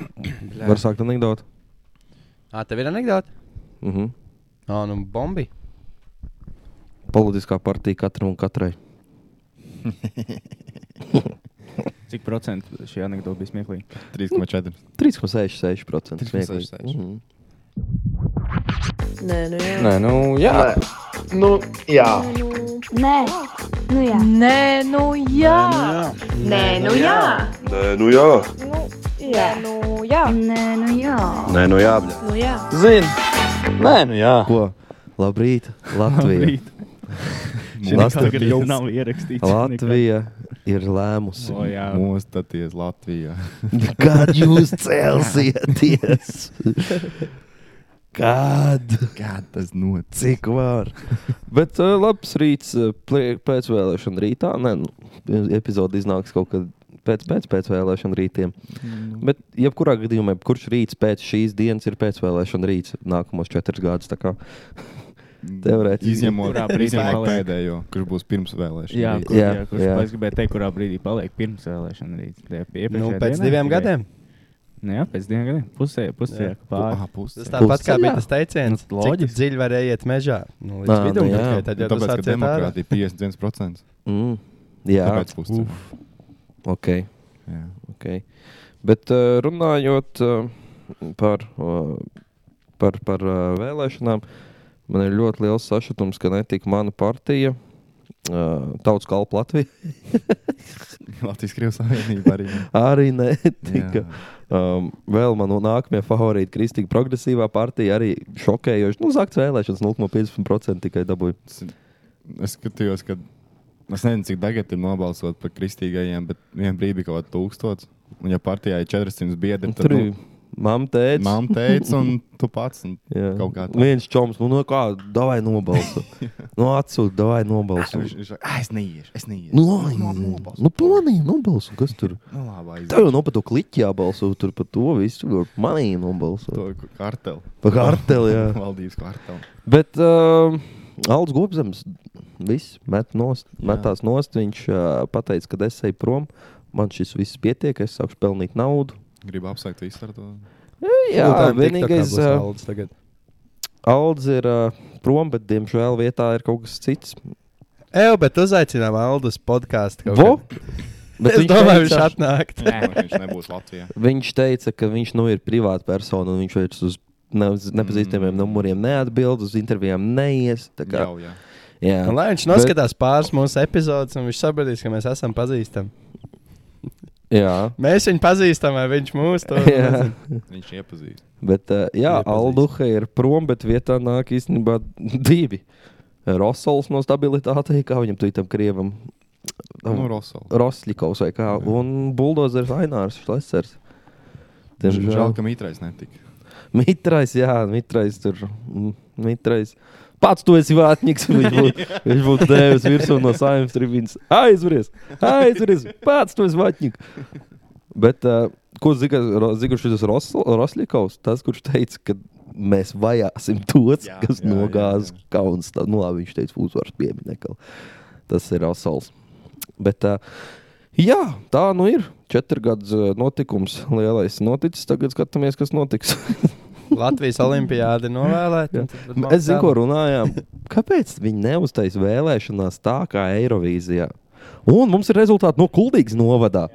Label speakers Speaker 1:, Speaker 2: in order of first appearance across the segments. Speaker 1: Bļā.
Speaker 2: Var sākt anekdoti.
Speaker 1: Ā, tev ir anekdote?
Speaker 2: Mm -hmm.
Speaker 1: Ā, nu, bombi.
Speaker 2: Politiskā partija katram un katrai.
Speaker 3: Cik procentu šī anekdote bija smieklīga?
Speaker 4: 3,4.
Speaker 2: 3,66%.
Speaker 4: 3,66.
Speaker 2: Mhm.
Speaker 5: Nē, nu jā.
Speaker 2: Nē, nu jā.
Speaker 6: Nu, jā.
Speaker 7: Nē, nu jā.
Speaker 5: Nē, nu jā.
Speaker 7: Nē, nu jā.
Speaker 5: Jā, nu jā.
Speaker 7: Nē, nu jā.
Speaker 5: Nu jā.
Speaker 6: Zini, nē, nu jā.
Speaker 2: Ko? Labrīt, Latvija.
Speaker 3: Tā
Speaker 4: Mostaties.
Speaker 3: gada nav ierakstīta.
Speaker 2: Latvija ir lēmusi.
Speaker 3: O, jā.
Speaker 4: Mostaties Latvijā.
Speaker 2: Kad jūs celsieties? Kad?
Speaker 4: Kā tas notic?
Speaker 2: Cik var? Bet uh, labs rīts uh, plie- pēc vēlēšana rītā. Nē, nu, epizode iznāks kaut kad pēc, pēc, pēc vēlēšana rītiem.
Speaker 3: Mm.
Speaker 2: Bet, jebkurā gadījumā, kurš rīts pēc šīs dienas ir pēc vēlēšana rīts nākamos četrus gadus? tā kā. Teorētiski.
Speaker 4: Izņemot,
Speaker 3: Kurā brīdī
Speaker 4: izņemot
Speaker 3: paliek?
Speaker 4: pēdējo, kurš būs pirms vēlēšanām.
Speaker 3: Jā,
Speaker 4: Rīt.
Speaker 3: kur, jā,
Speaker 2: Jā,
Speaker 3: kurš,
Speaker 2: jā.
Speaker 3: jā. Es gribēju teikt, kurā brīdī paliek pirms vēlēšana rīta.
Speaker 1: Nu, pēc diviem gadiem.
Speaker 3: Nu, Jā, pēc diviem gadiem. Pusē, pusē
Speaker 1: Jā.
Speaker 3: pāri.
Speaker 4: Ah, pusi.
Speaker 1: Tas tāpat kā
Speaker 2: Pusceļā?
Speaker 1: bija tas teiciens,
Speaker 3: Nu,
Speaker 1: cik
Speaker 3: loģiski.
Speaker 1: dziļi varēja iet mežā. Nu, līdz
Speaker 2: Ā, nu
Speaker 1: vidum,
Speaker 2: jā.
Speaker 1: tikai tad jau
Speaker 4: Tāpēc,
Speaker 1: tas
Speaker 4: ka
Speaker 1: atsiet ārā.
Speaker 4: demokrātija ir 51%.
Speaker 2: Mm, jā,
Speaker 4: Tāpēc pusi.
Speaker 2: ok.
Speaker 4: Jā.
Speaker 2: okay. Bet uh, runājot uh, par, uh, par, par uh, vēlēšanām, man ir ļoti liels sašutums, ka netika mana partija. Uh, Tautas kalpa Latvija
Speaker 4: Latvijas Krievijas Savienība arī. ne.
Speaker 2: arī netika.
Speaker 4: Jā.
Speaker 2: Um, vēl manā nākamajā favorītā, Kristīna Progresīvā partija, arī šokējoši. Nu, Zakt vēlēšanas 0,50% tikai dabūja.
Speaker 4: Es- Es skatījos, ka. Es nezinu, cik tagad ir nobalsot par kristīgajiem, bet vienā brīdī bija kaut kāda tūkstoša. Un, ja partijā ir 400 biedri, tad
Speaker 2: Nu,
Speaker 4: nu,
Speaker 2: Tur bija mamma teica,
Speaker 4: Māma teica, un tu pats. Un kaut kā tā.
Speaker 2: Viens čoms, nu, no kā, davai nobalsu. nu, atsūti, davai nobalsu.
Speaker 4: Viņš- viņš saka, "Ā, Es neiešu, es neiešu.
Speaker 2: Nu,
Speaker 4: no,
Speaker 2: labi. Nu, planīgi nobalso. Kas tur?
Speaker 4: nu labi,
Speaker 2: Tev
Speaker 4: aiziet.
Speaker 2: jau nav par to kliķi jābalso. Tur par to visu. Tur manī nobalso.
Speaker 4: To k- karteli.
Speaker 2: Par karteli, jā.
Speaker 4: Valdības karteli.
Speaker 2: Bet uh, Alans Gobzems viss met nost,
Speaker 4: Jā.
Speaker 2: metās nost. Viņš uh, pateica, ka es eju prom. Man šis viss pietiek, es sāku pelnīt naudu.
Speaker 4: Gribu apsveikt visu ar to.
Speaker 2: Jā,
Speaker 1: Nu, tā ir
Speaker 2: vienīgais.
Speaker 1: TikTokā būs
Speaker 2: Uh,
Speaker 1: valdes tagad.
Speaker 2: Alans ir uh, prom, bet diemžēl vietā ir kaut kas cits.
Speaker 1: Eju, bet uzaicinām Aldus podkāstu.
Speaker 2: Vo?
Speaker 1: Bet es domāju, viņš atnākt.
Speaker 4: Nē, viņš nebūs Latvijā.
Speaker 2: Viņš teica, ka viņš nu ir privāta persona un viņš vairs uz ne, uz nepazīstamiem mm. numuriem neatbild, uz intervijām neies. tā Kā,
Speaker 4: Jau, jā.
Speaker 2: jā,
Speaker 1: Un Lai viņš noskatās pāris mūsu epizodes, un viņš sapratīs, ka mēs esam pazīstami.
Speaker 2: jā.
Speaker 1: Mēs viņu pazīstam, vai viņš mūs to
Speaker 2: Jā,
Speaker 4: Viņš iepazīst.
Speaker 2: bet, uh, jā
Speaker 1: Nepazīst.
Speaker 2: Alduha ir prom, bet vietā nāk īstenībā divi. Rosols no stabilitātei, kā viņam tūlītam krievam.
Speaker 4: Nu, Rosola.
Speaker 2: Roslikovs vai kā,
Speaker 4: Jā.
Speaker 2: un buldozers Ainārs Šlesers.
Speaker 4: Žēl, ka mitrais netika.
Speaker 2: Mitrais, jā, mitrais tur. mm, Mitrais. Pats tu esi vātnieks. Viņš būtu viņš būtu devis virsū no saimnes tribīnas. Aizveries, aizveries. Pats tu esi vātnieks. Bet uh, ko zigurš šis Roslikovs, tas, kurš teica, ka mēs vajāsim tos, jā,
Speaker 4: Jā,
Speaker 2: kas
Speaker 4: jā, jā,
Speaker 2: nogāz
Speaker 4: jā.
Speaker 2: kauns. Tā, nu, labi, viņš teica uzvaras pieminekli. Tas ir Rosols. Bet, uh, jā, tā nu ir. Četri gadus uh, notikums, lielais noticis. Tagad skatāmies, kas notiks.
Speaker 1: Latvijas Olimpijādi novēlēt. un tad
Speaker 2: Es zinu, ko runājām. Kāpēc viņi neuztais vēlēšanās tā kā Eirovīzijā? Un mums ir rezultāti no Kultūras novadā.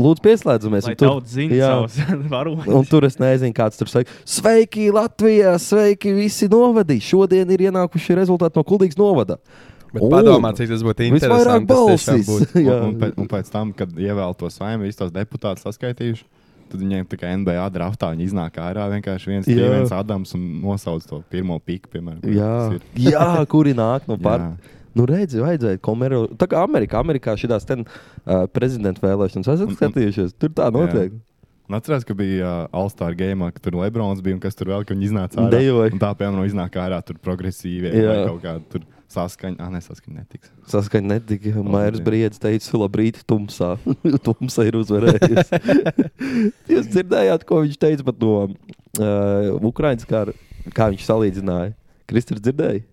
Speaker 2: Lūdzu, pieslēdzamies.
Speaker 3: Lai
Speaker 2: un tur-
Speaker 3: tauts zina
Speaker 2: Jā.
Speaker 3: savus
Speaker 2: Un
Speaker 3: varoņus.
Speaker 2: tur es nezinu, kāds tur saka, sveiki Latvijā, sveiki visi novadi. Šodien ir ienākuši rezultāti no Kultūras novada.
Speaker 1: Bet
Speaker 2: Un
Speaker 1: Padomā, cik tas būtu
Speaker 2: Visvairāk
Speaker 1: interesanti. tas tiešām
Speaker 2: balsis.
Speaker 1: būtu.
Speaker 4: Un,
Speaker 2: Jā.
Speaker 4: un, pēc, un pēc tam, kad ievēl to saimnu, visus tos deputātus saskaitījuši, tad viņiem tā kā NBA draftā viņi iznāk ārā vienkārši viens,
Speaker 2: Jā.
Speaker 4: viens Adams un nosauc to pirmo piku, piemēram. kur tas
Speaker 2: Jā,
Speaker 4: ir.
Speaker 2: jā kuri nāk no pārējiem.
Speaker 4: Jā.
Speaker 2: Nu, redziet, vajadzēja komero. Tā kā Amerikā, Amerikā šīs ten uh, prezidenta vēlēšanas, esat
Speaker 4: Un- un-
Speaker 2: skatījušies, tur tā notiek.
Speaker 4: Un atceros, ka bija uh, All-Star game, ka tur Lebrons bija un kas tur vēl, ka viņi iznāca ārā.
Speaker 2: Dejoja.
Speaker 4: Un tā, piemēram, iznāk ārā tur progresīvie,
Speaker 2: Jā.
Speaker 4: vai kaut kāda tur saskaņa, ah, nesaskaņa netiks.
Speaker 2: Saskaņā netika. Mairs
Speaker 4: Dievs.
Speaker 2: Briedis teica, labrīt, tumsā. Tumsa ir uzvarējusi. Jūs dzirdējāt, ko viņš teica par to uh, Ukraiņas karu, kā viņš salīdzināja. Kristers dzirdēja?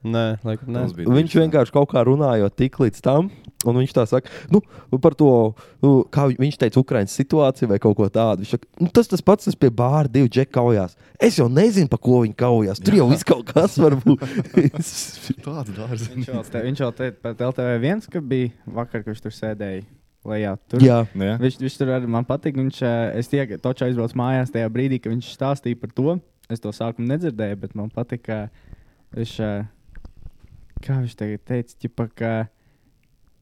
Speaker 1: Nē, laikam, nē.
Speaker 4: Tas bija
Speaker 2: Viņš
Speaker 4: tieši tā.
Speaker 2: vienkārši kaut kā runājot tik līdz tam, un viņš tā saka, nu, par to, nu, kā vi- viņš teica, Ukraiņas situācija vai kaut ko tādu. Viņš saka, nu, tas tas pats, kas pie bāra divi džeki kaujās. Es jau nezinu, pa ko viņi kaujās. Tur jau viss kaut kas var būt.
Speaker 4: Tāds dārziņš.
Speaker 8: Viņš vēl te- Viņš jau teica, ka LTV1, ka bija vakar, kad viņš tur sēdēja lejā. Tur.
Speaker 2: Jā,
Speaker 4: Nu Jā,
Speaker 8: Viņš, viņš tur arī man patīk. Viņš, eh, es tikai točā aizbraucu mājās tajā brīdī, kad viņš stāstīja par to. Es to sākumā nedzirdēju, bet man patīk, ka viņš, eh, kā viņš tagad teica, ķipa, ka,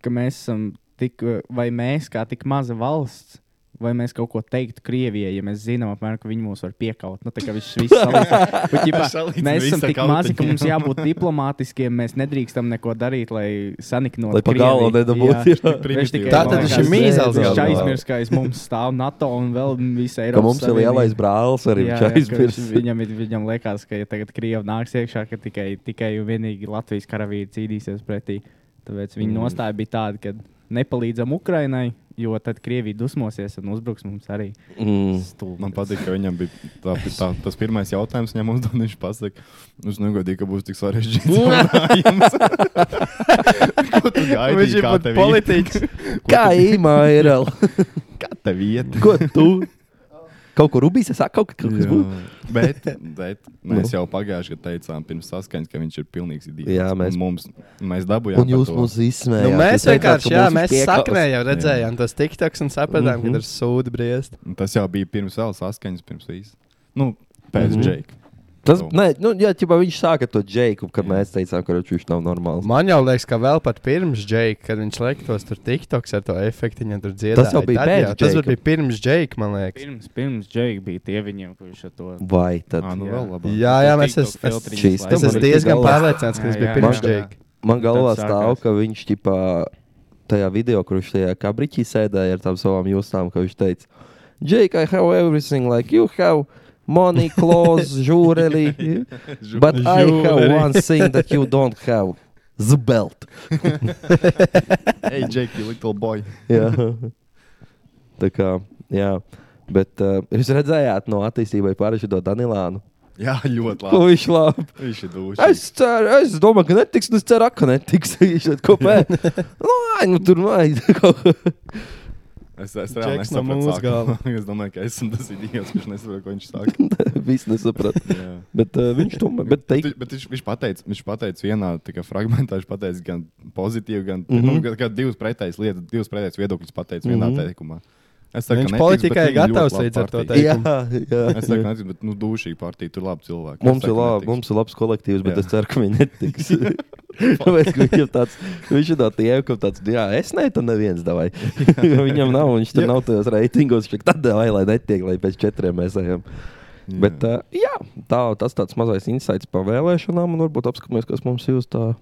Speaker 8: ka mēs esam tik, eh, vai mēs kā tik maza valsts. Vai mēs kaut ko teiktu Krievijai, ja mēs zinām, apmēram, ka viņi mūs var piekaut? Nu, tā kā viņš viss salīdzina. Bet, ķipa,
Speaker 4: Salīdzina
Speaker 8: Mēs esam
Speaker 4: visu
Speaker 8: tik
Speaker 4: kautiņu.
Speaker 8: mazi, ka mums jābūt diplomātiskiem. Mēs nedrīkstam neko darīt, lai saniknotu.
Speaker 2: lai pa galu
Speaker 8: Krieviju. Jā.
Speaker 2: nedabūtu. jā.
Speaker 8: Viņš tikai
Speaker 1: Tā tad viņš ir mīzels
Speaker 8: Viņš
Speaker 1: galvā.
Speaker 8: aizmirst, ka aiz mums stāv NATO un vēl visa
Speaker 2: Ka
Speaker 8: Eiropa.
Speaker 2: mums ir lielais brālis arī.
Speaker 8: Jā,
Speaker 2: Viņš
Speaker 8: jā, ka viņš,
Speaker 2: aizmirst.
Speaker 8: viņam, ir- viņam liekas, ka ja tagad Krievija nāks iekšā, ka tikai, tikai un vienīgi Latvijas karavīri cīnīsies pretī. Tāpēc viņa
Speaker 1: Mm.
Speaker 8: nostāja bija tāda, ka nepalīdzam Ukrainai, jo tad Krievija dusmosies un uzbruks mums arī.
Speaker 2: Mm.
Speaker 8: Stulbi.
Speaker 4: Man patīk, ka viņam bija tā, tā, tas pirmais jautājums, viņam uzdod, viņš pasaka, uz negodīgi, ka būs tik sarežģīts jautājums. Ko tu
Speaker 8: Viņš
Speaker 4: gaidīji?
Speaker 8: ir
Speaker 4: Kā
Speaker 8: pat
Speaker 4: tev iet?
Speaker 8: politiķis.
Speaker 2: Kā īmā ir? el?
Speaker 4: Kā tev iet?
Speaker 2: Ko tu? Kaut kur rubīs, es saku, kaut kas būs. Nu.
Speaker 4: Bet, bet mēs jau pagājušajā gadā teicām, pirms saskaņas, ka viņš ir pilnīgs idiots.
Speaker 2: Jā, mēs-
Speaker 4: Un mums, mēs dabūjām.
Speaker 2: Un jūs
Speaker 4: par to.
Speaker 2: mūs
Speaker 1: Nu,
Speaker 2: izsmējāt.
Speaker 1: mēs
Speaker 2: Jūs teicāt, ka
Speaker 1: vienkārši, jā,
Speaker 2: mūs
Speaker 1: mēs
Speaker 2: piekaus.
Speaker 1: saknē jau redzējām tos tiktoks un sapratām,
Speaker 2: Mhm.
Speaker 1: ka tur sūdi briest.
Speaker 4: Un Tas jau bija pirms vēl saskaņas, pirms visu. Nu, pēc
Speaker 2: Mhm.
Speaker 4: Džeika.
Speaker 2: Tas,
Speaker 4: Nu.
Speaker 2: nē, nu, jā, ķipa, viņš sāka to jēgu, kad mēs teicām, ka viņš nav normāls.
Speaker 1: Man jau liekas, ka vēl pat pirms Džeika, kad viņš liktos tur tiktoks ar to efektu, viņa tur dziedāja.
Speaker 2: Tas jau bija
Speaker 1: Tad
Speaker 2: pēc
Speaker 1: Tas
Speaker 2: Džeika.
Speaker 1: bija pirms Džeika, man liekas.
Speaker 8: Pirms, pirms Džeika bija tie viņiem, kurš ar to
Speaker 2: Vai tad?
Speaker 4: Ā, nu
Speaker 8: Jā.
Speaker 4: vēl labāk.
Speaker 1: Jā, jā, mēs
Speaker 8: TikTok
Speaker 1: es- es-
Speaker 8: filtriņus
Speaker 2: Šīs
Speaker 1: Es
Speaker 2: Tas
Speaker 8: laikam.
Speaker 1: esmu
Speaker 2: man ir
Speaker 1: diezgan
Speaker 2: galvā.
Speaker 1: pārliecināts, ka tas
Speaker 8: Jā,
Speaker 1: bija
Speaker 8: jā,
Speaker 1: pirms
Speaker 2: jā.
Speaker 1: Džeika.
Speaker 2: Man galvā
Speaker 8: Tad
Speaker 2: stāv,
Speaker 8: sākās.
Speaker 2: ka viņš ķipa, tajā video, kur viņš tajā kabriķī sēdēja ar tām savām jūstām, ka viņš teica, Jake, I have everything like you have. Money, clothes, jewelry. But I have one thing that you don't have. The belt.
Speaker 4: Hey, Jake, you little boy.
Speaker 2: Jā. Tā kā, jā. Bet uh, jūs redzējāt no attīstībai pārējušo Danilānu.
Speaker 4: Jā, ļoti
Speaker 2: Ko
Speaker 4: labi.
Speaker 2: viņš labi?
Speaker 4: Viņš ir dūšs.
Speaker 2: Es ceru, es domāju, ka netiks, un es ceru, ka netiks. Viņš šeit kaut kā tādu nu, tur nāca.
Speaker 4: Es, es reāli
Speaker 1: Džeks no
Speaker 4: nesaprotu.
Speaker 1: mūsu
Speaker 4: sākumā. es domāju, ka esmu tas idiots, kurš nesaprot, ko viņš saka.
Speaker 2: Viss nesaprata.
Speaker 4: Jā.
Speaker 2: Bet uh, viņš tomēr, bet
Speaker 4: Bet,
Speaker 2: teikt,
Speaker 4: viņš- bet viņš, viņš, pateica, viņš pateica vienā tikai fragmentā, viņš pateica gan pozitīvu, gan mm -hmm. nu, gan- gan divas pretējas lietas, divas pretējas viedokļus pateica mm -hmm. vienā
Speaker 2: Mhm.
Speaker 4: teikumā. Es
Speaker 1: Viņš
Speaker 4: netiks,
Speaker 1: politikai
Speaker 4: bet viņi
Speaker 1: gatavs
Speaker 4: ļoti labi
Speaker 1: līdz ar to
Speaker 4: partija.
Speaker 1: teikt.
Speaker 2: jā,
Speaker 4: Es saku,
Speaker 2: jā.
Speaker 4: nezinu, bet nu, dušīgi partija, tur labi cilvēki.
Speaker 2: Mums ir, labi, mums ir labs kolektīvs, bet
Speaker 4: Jā.
Speaker 2: jā. es ceru, ka viņi netiks. Tāpēc, ka viņam tāds, viņš ir no tiem, kuriem tāds, jā, es ne, tad neviens davai. viņam nav, viņš tur nav tajos reitingos, viņš tad davai, lai netiek, lai pēc četriem mēs ejam. Jā. Bet, uh, jā, tā, tas tāds mazais insights par vēlēšanām, un varbūt apskatīsimies, kas mums ir uz tā.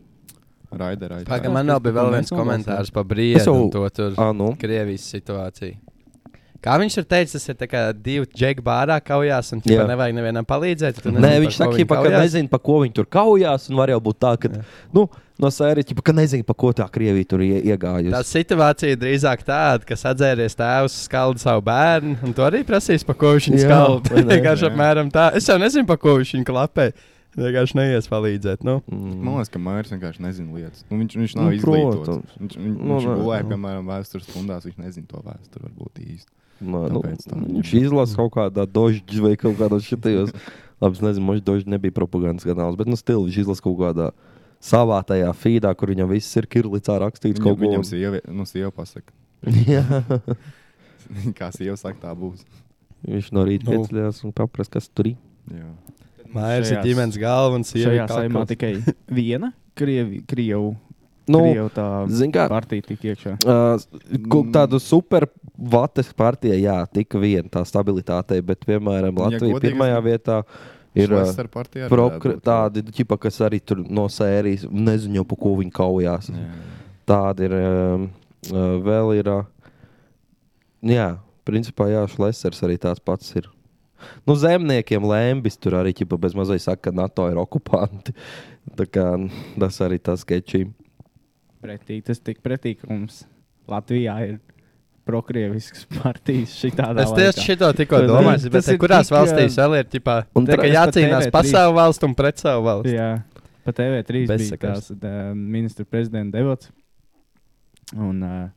Speaker 4: Raida, raida.
Speaker 1: Pagaidām, man vēl bija vēl viens komentārs par brīvību
Speaker 2: Es jau-
Speaker 1: un to tur
Speaker 2: Ah, nu.
Speaker 1: Krievijas situāciju. Kā viņš ir teicis, tas ir tā kā divi džekļi bārā kaujās, un
Speaker 2: Jā.
Speaker 1: tur nevajag nevienam palīdzēt. tu
Speaker 2: Nē,
Speaker 1: nezini,
Speaker 2: viņš
Speaker 1: par ko
Speaker 2: saka,
Speaker 1: viņi
Speaker 2: ķipa, ka
Speaker 1: kaujās.
Speaker 2: nezina, pa ko viņi tur kaujās. un Var jau būt tā, ka nu, no sērijas ķipa, ka nezina, pa ko tā Krievija tur ie- iegājusi.
Speaker 1: Tā situācija drīzāk tāda, ka sadzēries tēvs, skalda savu bērnu, un tu arī prasīs, pa ko viņš viņu
Speaker 2: Jā,
Speaker 1: skalda.
Speaker 2: vai ne?
Speaker 1: Vienkārši apmēram tā. Es jau nezinu, pa ko viņš viņu klapē. Vienkārši neies palīdzēt. Nu.
Speaker 2: Mm.
Speaker 8: Mm.
Speaker 4: Man liekas, ka Mairs vienkārši nezina lietas. Nu, viņš, viņš nav
Speaker 2: Nu,
Speaker 4: nu, izglītots.
Speaker 2: protams.
Speaker 4: Viņš, viņš,
Speaker 2: Nu,
Speaker 4: viņš
Speaker 2: nē,
Speaker 4: gulēja,
Speaker 2: nu.
Speaker 4: piemēram, vēstures stundās. Viņš nezina to vēsturi varbūt īsti.
Speaker 2: Nā, nu,
Speaker 4: Tāpēc tā.
Speaker 2: viņš izlasa kaut kādā dožģī vai kaut kādos šitajos. Labi, es nezinu, možda dožģī nebija propagandas kanāls, bet nu, stila viņš izlasa kaut kādā savā tajā feedā, kur viņam viss ir kirlicā rakstīts
Speaker 4: Viņam,
Speaker 2: kaut ko.
Speaker 4: viņam sievi, nu, sieva pasaka,
Speaker 2: Jā.
Speaker 4: kā sieva saka, tā būs.
Speaker 2: Viņš no rīta
Speaker 1: Nu.
Speaker 2: pieceļās un paprasās, kas tur ir.
Speaker 4: Jā.
Speaker 1: Mājas ir
Speaker 8: šajās-
Speaker 1: ģimenes galva un sieva.
Speaker 8: Šajā
Speaker 1: ir
Speaker 8: saimā
Speaker 1: kakls.
Speaker 8: tikai viena Krievi, Krievu,
Speaker 2: Nu,
Speaker 8: Krievu tā
Speaker 2: zin kā-
Speaker 8: partija tika iekšā.
Speaker 2: Uh,
Speaker 4: Mm.
Speaker 2: kaut tādu supervates partiju, jā, tika viena tā stabilitāte, bet, piemēram,
Speaker 4: Ja
Speaker 2: Latvija
Speaker 4: godīgi,
Speaker 2: pirmajā vietā ir ā,
Speaker 4: ar partiju.
Speaker 2: prokra- tādi, ķipa, kas arī tur no sērijas nezinu, jau, pa ko viņi kaujās. Tādi ir, um, uh, vēl ir, uh, jā, principā, jā, Šlesers arī tāds pats ir. Nu, zemniekiem lēmbis tur arī ķipa bez mazai saka, ka NATO ir okupanti. Tā kā tas arī tas sketčī.
Speaker 8: pretī. Tas tik pretī, ka mums Latvijā ir prokrievisks partijas šitādā
Speaker 1: Es tieši
Speaker 8: laikā.
Speaker 1: šito tikko
Speaker 8: Tas-
Speaker 1: domāju, bet
Speaker 8: tas
Speaker 1: te
Speaker 8: ir
Speaker 1: kurās
Speaker 8: tik, um,
Speaker 1: valstīs
Speaker 8: jā.
Speaker 1: vēl ir ģipā,
Speaker 2: Un
Speaker 1: tā, ka
Speaker 8: tra- es pat
Speaker 1: jācīnās
Speaker 8: TV3.
Speaker 1: par savu valstu un pret savu valsti.
Speaker 8: Jā, Pa TV3 bija
Speaker 1: Bezsakars.
Speaker 8: tās tā, ministra prezidenta debats. Un uh,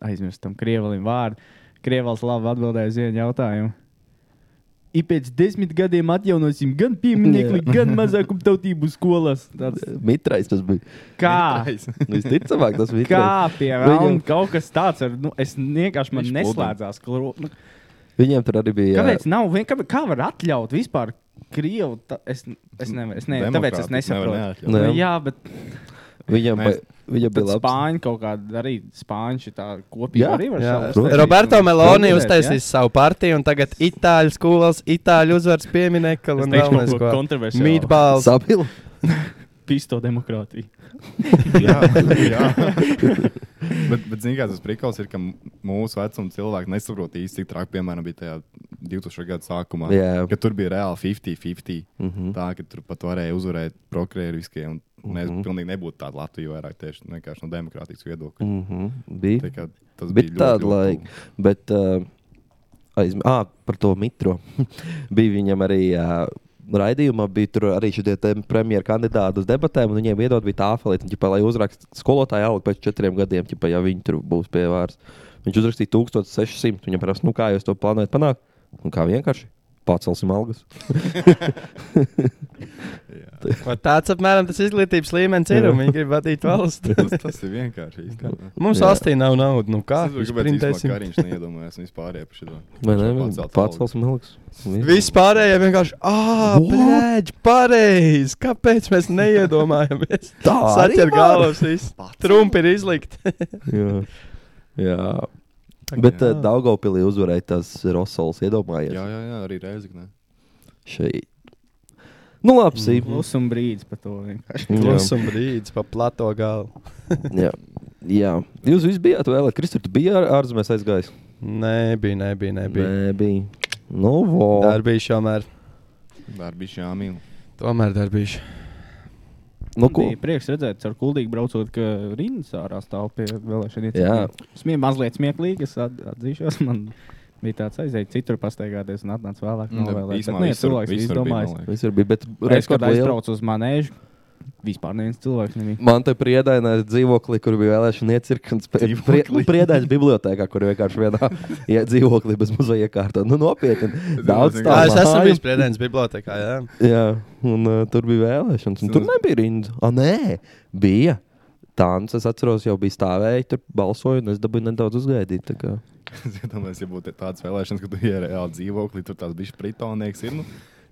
Speaker 8: aizmirstam Krievalim vārdu. Krievals labi atbildēja uz vienu jautājumu. Ik pēc desmit gadiem atjaunosim gan pieminiektu, gan mazākumtautību skolas. Tāds,
Speaker 2: Mitrais tas bija. Nu,
Speaker 8: kā?
Speaker 2: Visticamāk, tas bija.
Speaker 8: Kā piemēram,
Speaker 2: Viņam-
Speaker 8: kaut kas tāds ar, nu, es vienkārši man
Speaker 4: Viņš
Speaker 8: neslēdzās. klo- Nu,
Speaker 2: Viņiem tur arī bija. jā,
Speaker 8: kāpēc nav? vien- Kā, kā var atļaut vispār Krievu? Ta, es, es nevaru, es nevaru, tāpēc es nesaprotu.
Speaker 2: Ne.
Speaker 4: nesaprotu.
Speaker 8: Nu, jā, bet
Speaker 2: Viņam, Mēs...
Speaker 4: Mēs-
Speaker 2: viņam bija
Speaker 8: Tad
Speaker 2: labi.
Speaker 8: spāņi kaut kādā arī spāņi tā kopīgi
Speaker 2: Jā,
Speaker 8: arī var
Speaker 1: jā,
Speaker 8: savus
Speaker 2: protams.
Speaker 8: taisīt.
Speaker 1: Roberto Meloni
Speaker 8: Dominēt,
Speaker 1: uztaisīs savu partiju, un tagad itāļu skolas, itāļu uzvaras
Speaker 8: jā.
Speaker 1: pieminiekli
Speaker 8: Es
Speaker 1: un
Speaker 8: teikšu,
Speaker 1: vēl
Speaker 8: kaut ko
Speaker 1: nezinu.
Speaker 8: kontroversiālu.
Speaker 1: Meatballs.
Speaker 2: Sabila.
Speaker 8: Pisto demokrātija.
Speaker 4: jā, jā. bet, bet zini, kāds tas prikals ir, ka m- mūsu vecuma cilvēki nesaprot īsti, cik traki, piemēram, bija tajā 2000. gada sākumā.
Speaker 2: Jā.
Speaker 4: Ka tur bija reāli 50-50.
Speaker 2: Mm -hmm.
Speaker 4: Tā, ka tur pat varēja uzvarēt prokrēriskie, un mēs
Speaker 2: Mhm.
Speaker 4: pilnīgi nebūtu tāda Latvija vairāk tieši vienkārši no demokrātijas viedokļa.
Speaker 2: Mm -hmm. Bija.
Speaker 4: Tā kā Tas
Speaker 2: bija
Speaker 4: ļoti,
Speaker 2: tāda
Speaker 4: ļoti
Speaker 2: laika.
Speaker 4: tuvu.
Speaker 2: Bet uh, aizm... à, par to mitro bija viņam arī. Uh, Raidījumā bija tur arī šie premjeras kandidāti uz debatēm, un viņiem iedod bija tā afilēta, ka, lai uzrakstītu skolotāju algu pēc četriem gadiem, ķipa, ja viņi tur būs pie vāras. Viņš uzrakstīja 1600. Viņam prasa, nu kā jūs to plānojat panākt? Nu kā vienkārši pacelsim algas.
Speaker 1: Vat Tāds apmēram tas izglītības līmenis ir, un viņi grib vadīt valsts.
Speaker 4: Tas, tas ir vienkārši.
Speaker 2: Mhm.
Speaker 4: īstenībā.
Speaker 1: Mums
Speaker 2: Jā.
Speaker 1: valstī nav naudas, nu kā?
Speaker 4: Es domāju, ka pēc tam, kad viņš neiedomājās vispār par šo
Speaker 2: Vai ne?
Speaker 4: Pacelt
Speaker 2: Pacelsim algas.
Speaker 1: Viss pārējais vienkārši, ah,
Speaker 2: What?
Speaker 1: blēģi, pareizi. Kāpēc mēs neiedomājamies?
Speaker 2: Tā arī
Speaker 1: Saķer
Speaker 2: var?
Speaker 1: galvas, viss. Trumpi ir izlikt.
Speaker 2: Jā. Jā. Bet uh, Daugopilī uzvarēja tas Rosols, iedomājies.
Speaker 4: Jā, jā, jā, arī reizekne.
Speaker 2: šeit. Nu, labi,
Speaker 8: Mm.
Speaker 2: sīk.
Speaker 8: Klusum brīdis par to. vienkārši.
Speaker 2: Jā,
Speaker 1: Klusum brīdis pa plato galu.
Speaker 2: jā. jā. Jūs visi bijāt vēl, Kristur, tu biji ār- ārzemēs aizgājis?
Speaker 1: Nē, bija, nebija, nebija.
Speaker 2: Nē, bija. Nu, vo.
Speaker 1: Darbīši tomēr.
Speaker 4: Darbs jāmīl.
Speaker 1: Tomēr darbīši.
Speaker 2: Nu, ko?
Speaker 8: Bija prieks redzēt, ar kuldīgi braucot, ka rindas ārā stāv pie
Speaker 2: Jā.
Speaker 8: vēlēšana iecirkņiem. Smiem mazliet smieklīgi, es at, atzīšos. Man bija tāds aiziet citur pastaigāties un atnāc vēlāk
Speaker 1: Nu,
Speaker 4: Mm,
Speaker 8: novēlēt.
Speaker 4: īsumā
Speaker 8: Bet nē,
Speaker 4: visur-
Speaker 8: cilvēks
Speaker 4: visur
Speaker 8: bija
Speaker 4: bija, man
Speaker 8: izdomājis.
Speaker 4: liekas.
Speaker 2: Visur bija, bet
Speaker 8: Es kaut
Speaker 2: rekord
Speaker 8: kā
Speaker 2: liela.
Speaker 8: aizbraucu uz manēžu. Vispār neviens cilvēks nebija.
Speaker 2: Man te priedēja dzīvoklī, kur bija vēlēšana iecirknis. Prie, nu, priedēja bibliotekā, kur vienkārši vienā ie- dzīvoklī bez muzeja iekārta. Nu, nopietni. Daudz
Speaker 1: Tā,
Speaker 2: tādu
Speaker 1: es esmu bijis priedēns bibliotekā, jā.
Speaker 2: Jā, un uh, tur bija vēlēšanas. Un tur nebija rinda. Ah, nē, bija. Tāns, es atceros, jau bija stāvēji, tur balsoju, un es dabūju nedaudz uzgaidīt. tā kā.
Speaker 4: Es domāju, ja būtu tādas vēlēšanas, ka tu ej reāli dzīvoklī, tur tāds bijis pritonnieks. Ir, nu,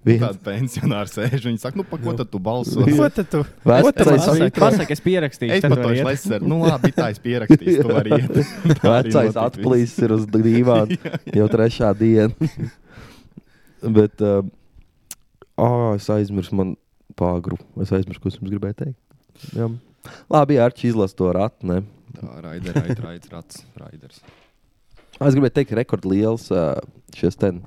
Speaker 2: Viens.
Speaker 4: Tāda pensionāra sēž, viņa saka, nu, pa ko tad tu balso?
Speaker 1: Ko tad tu?
Speaker 2: Vēsturē
Speaker 1: Ko tu
Speaker 2: saka-
Speaker 1: lasi?
Speaker 2: Pasaki-
Speaker 8: Pasaka, es pierakstīju.
Speaker 4: Es
Speaker 8: tad
Speaker 4: pat
Speaker 8: var
Speaker 4: to
Speaker 8: iet.
Speaker 4: aizlaistu. Nu, labi, tā es pierakstīju. Tu vari iet. Tā arī
Speaker 2: Vecais
Speaker 4: notika
Speaker 2: atplīsis ir uz dīvāna jau trešā diena. Bet, um, ah, es aizmirsu, man pāgru. Es aizmirsu, ko es jums gribēju teikt. Jā. Labi, Arčī, izlasi to ratu. Ne?
Speaker 4: viss. Tā, Raider, Raider, Raider, Rats, Raiders.
Speaker 2: Ah, Es gribēju teikt, rekordliels uh, šis ten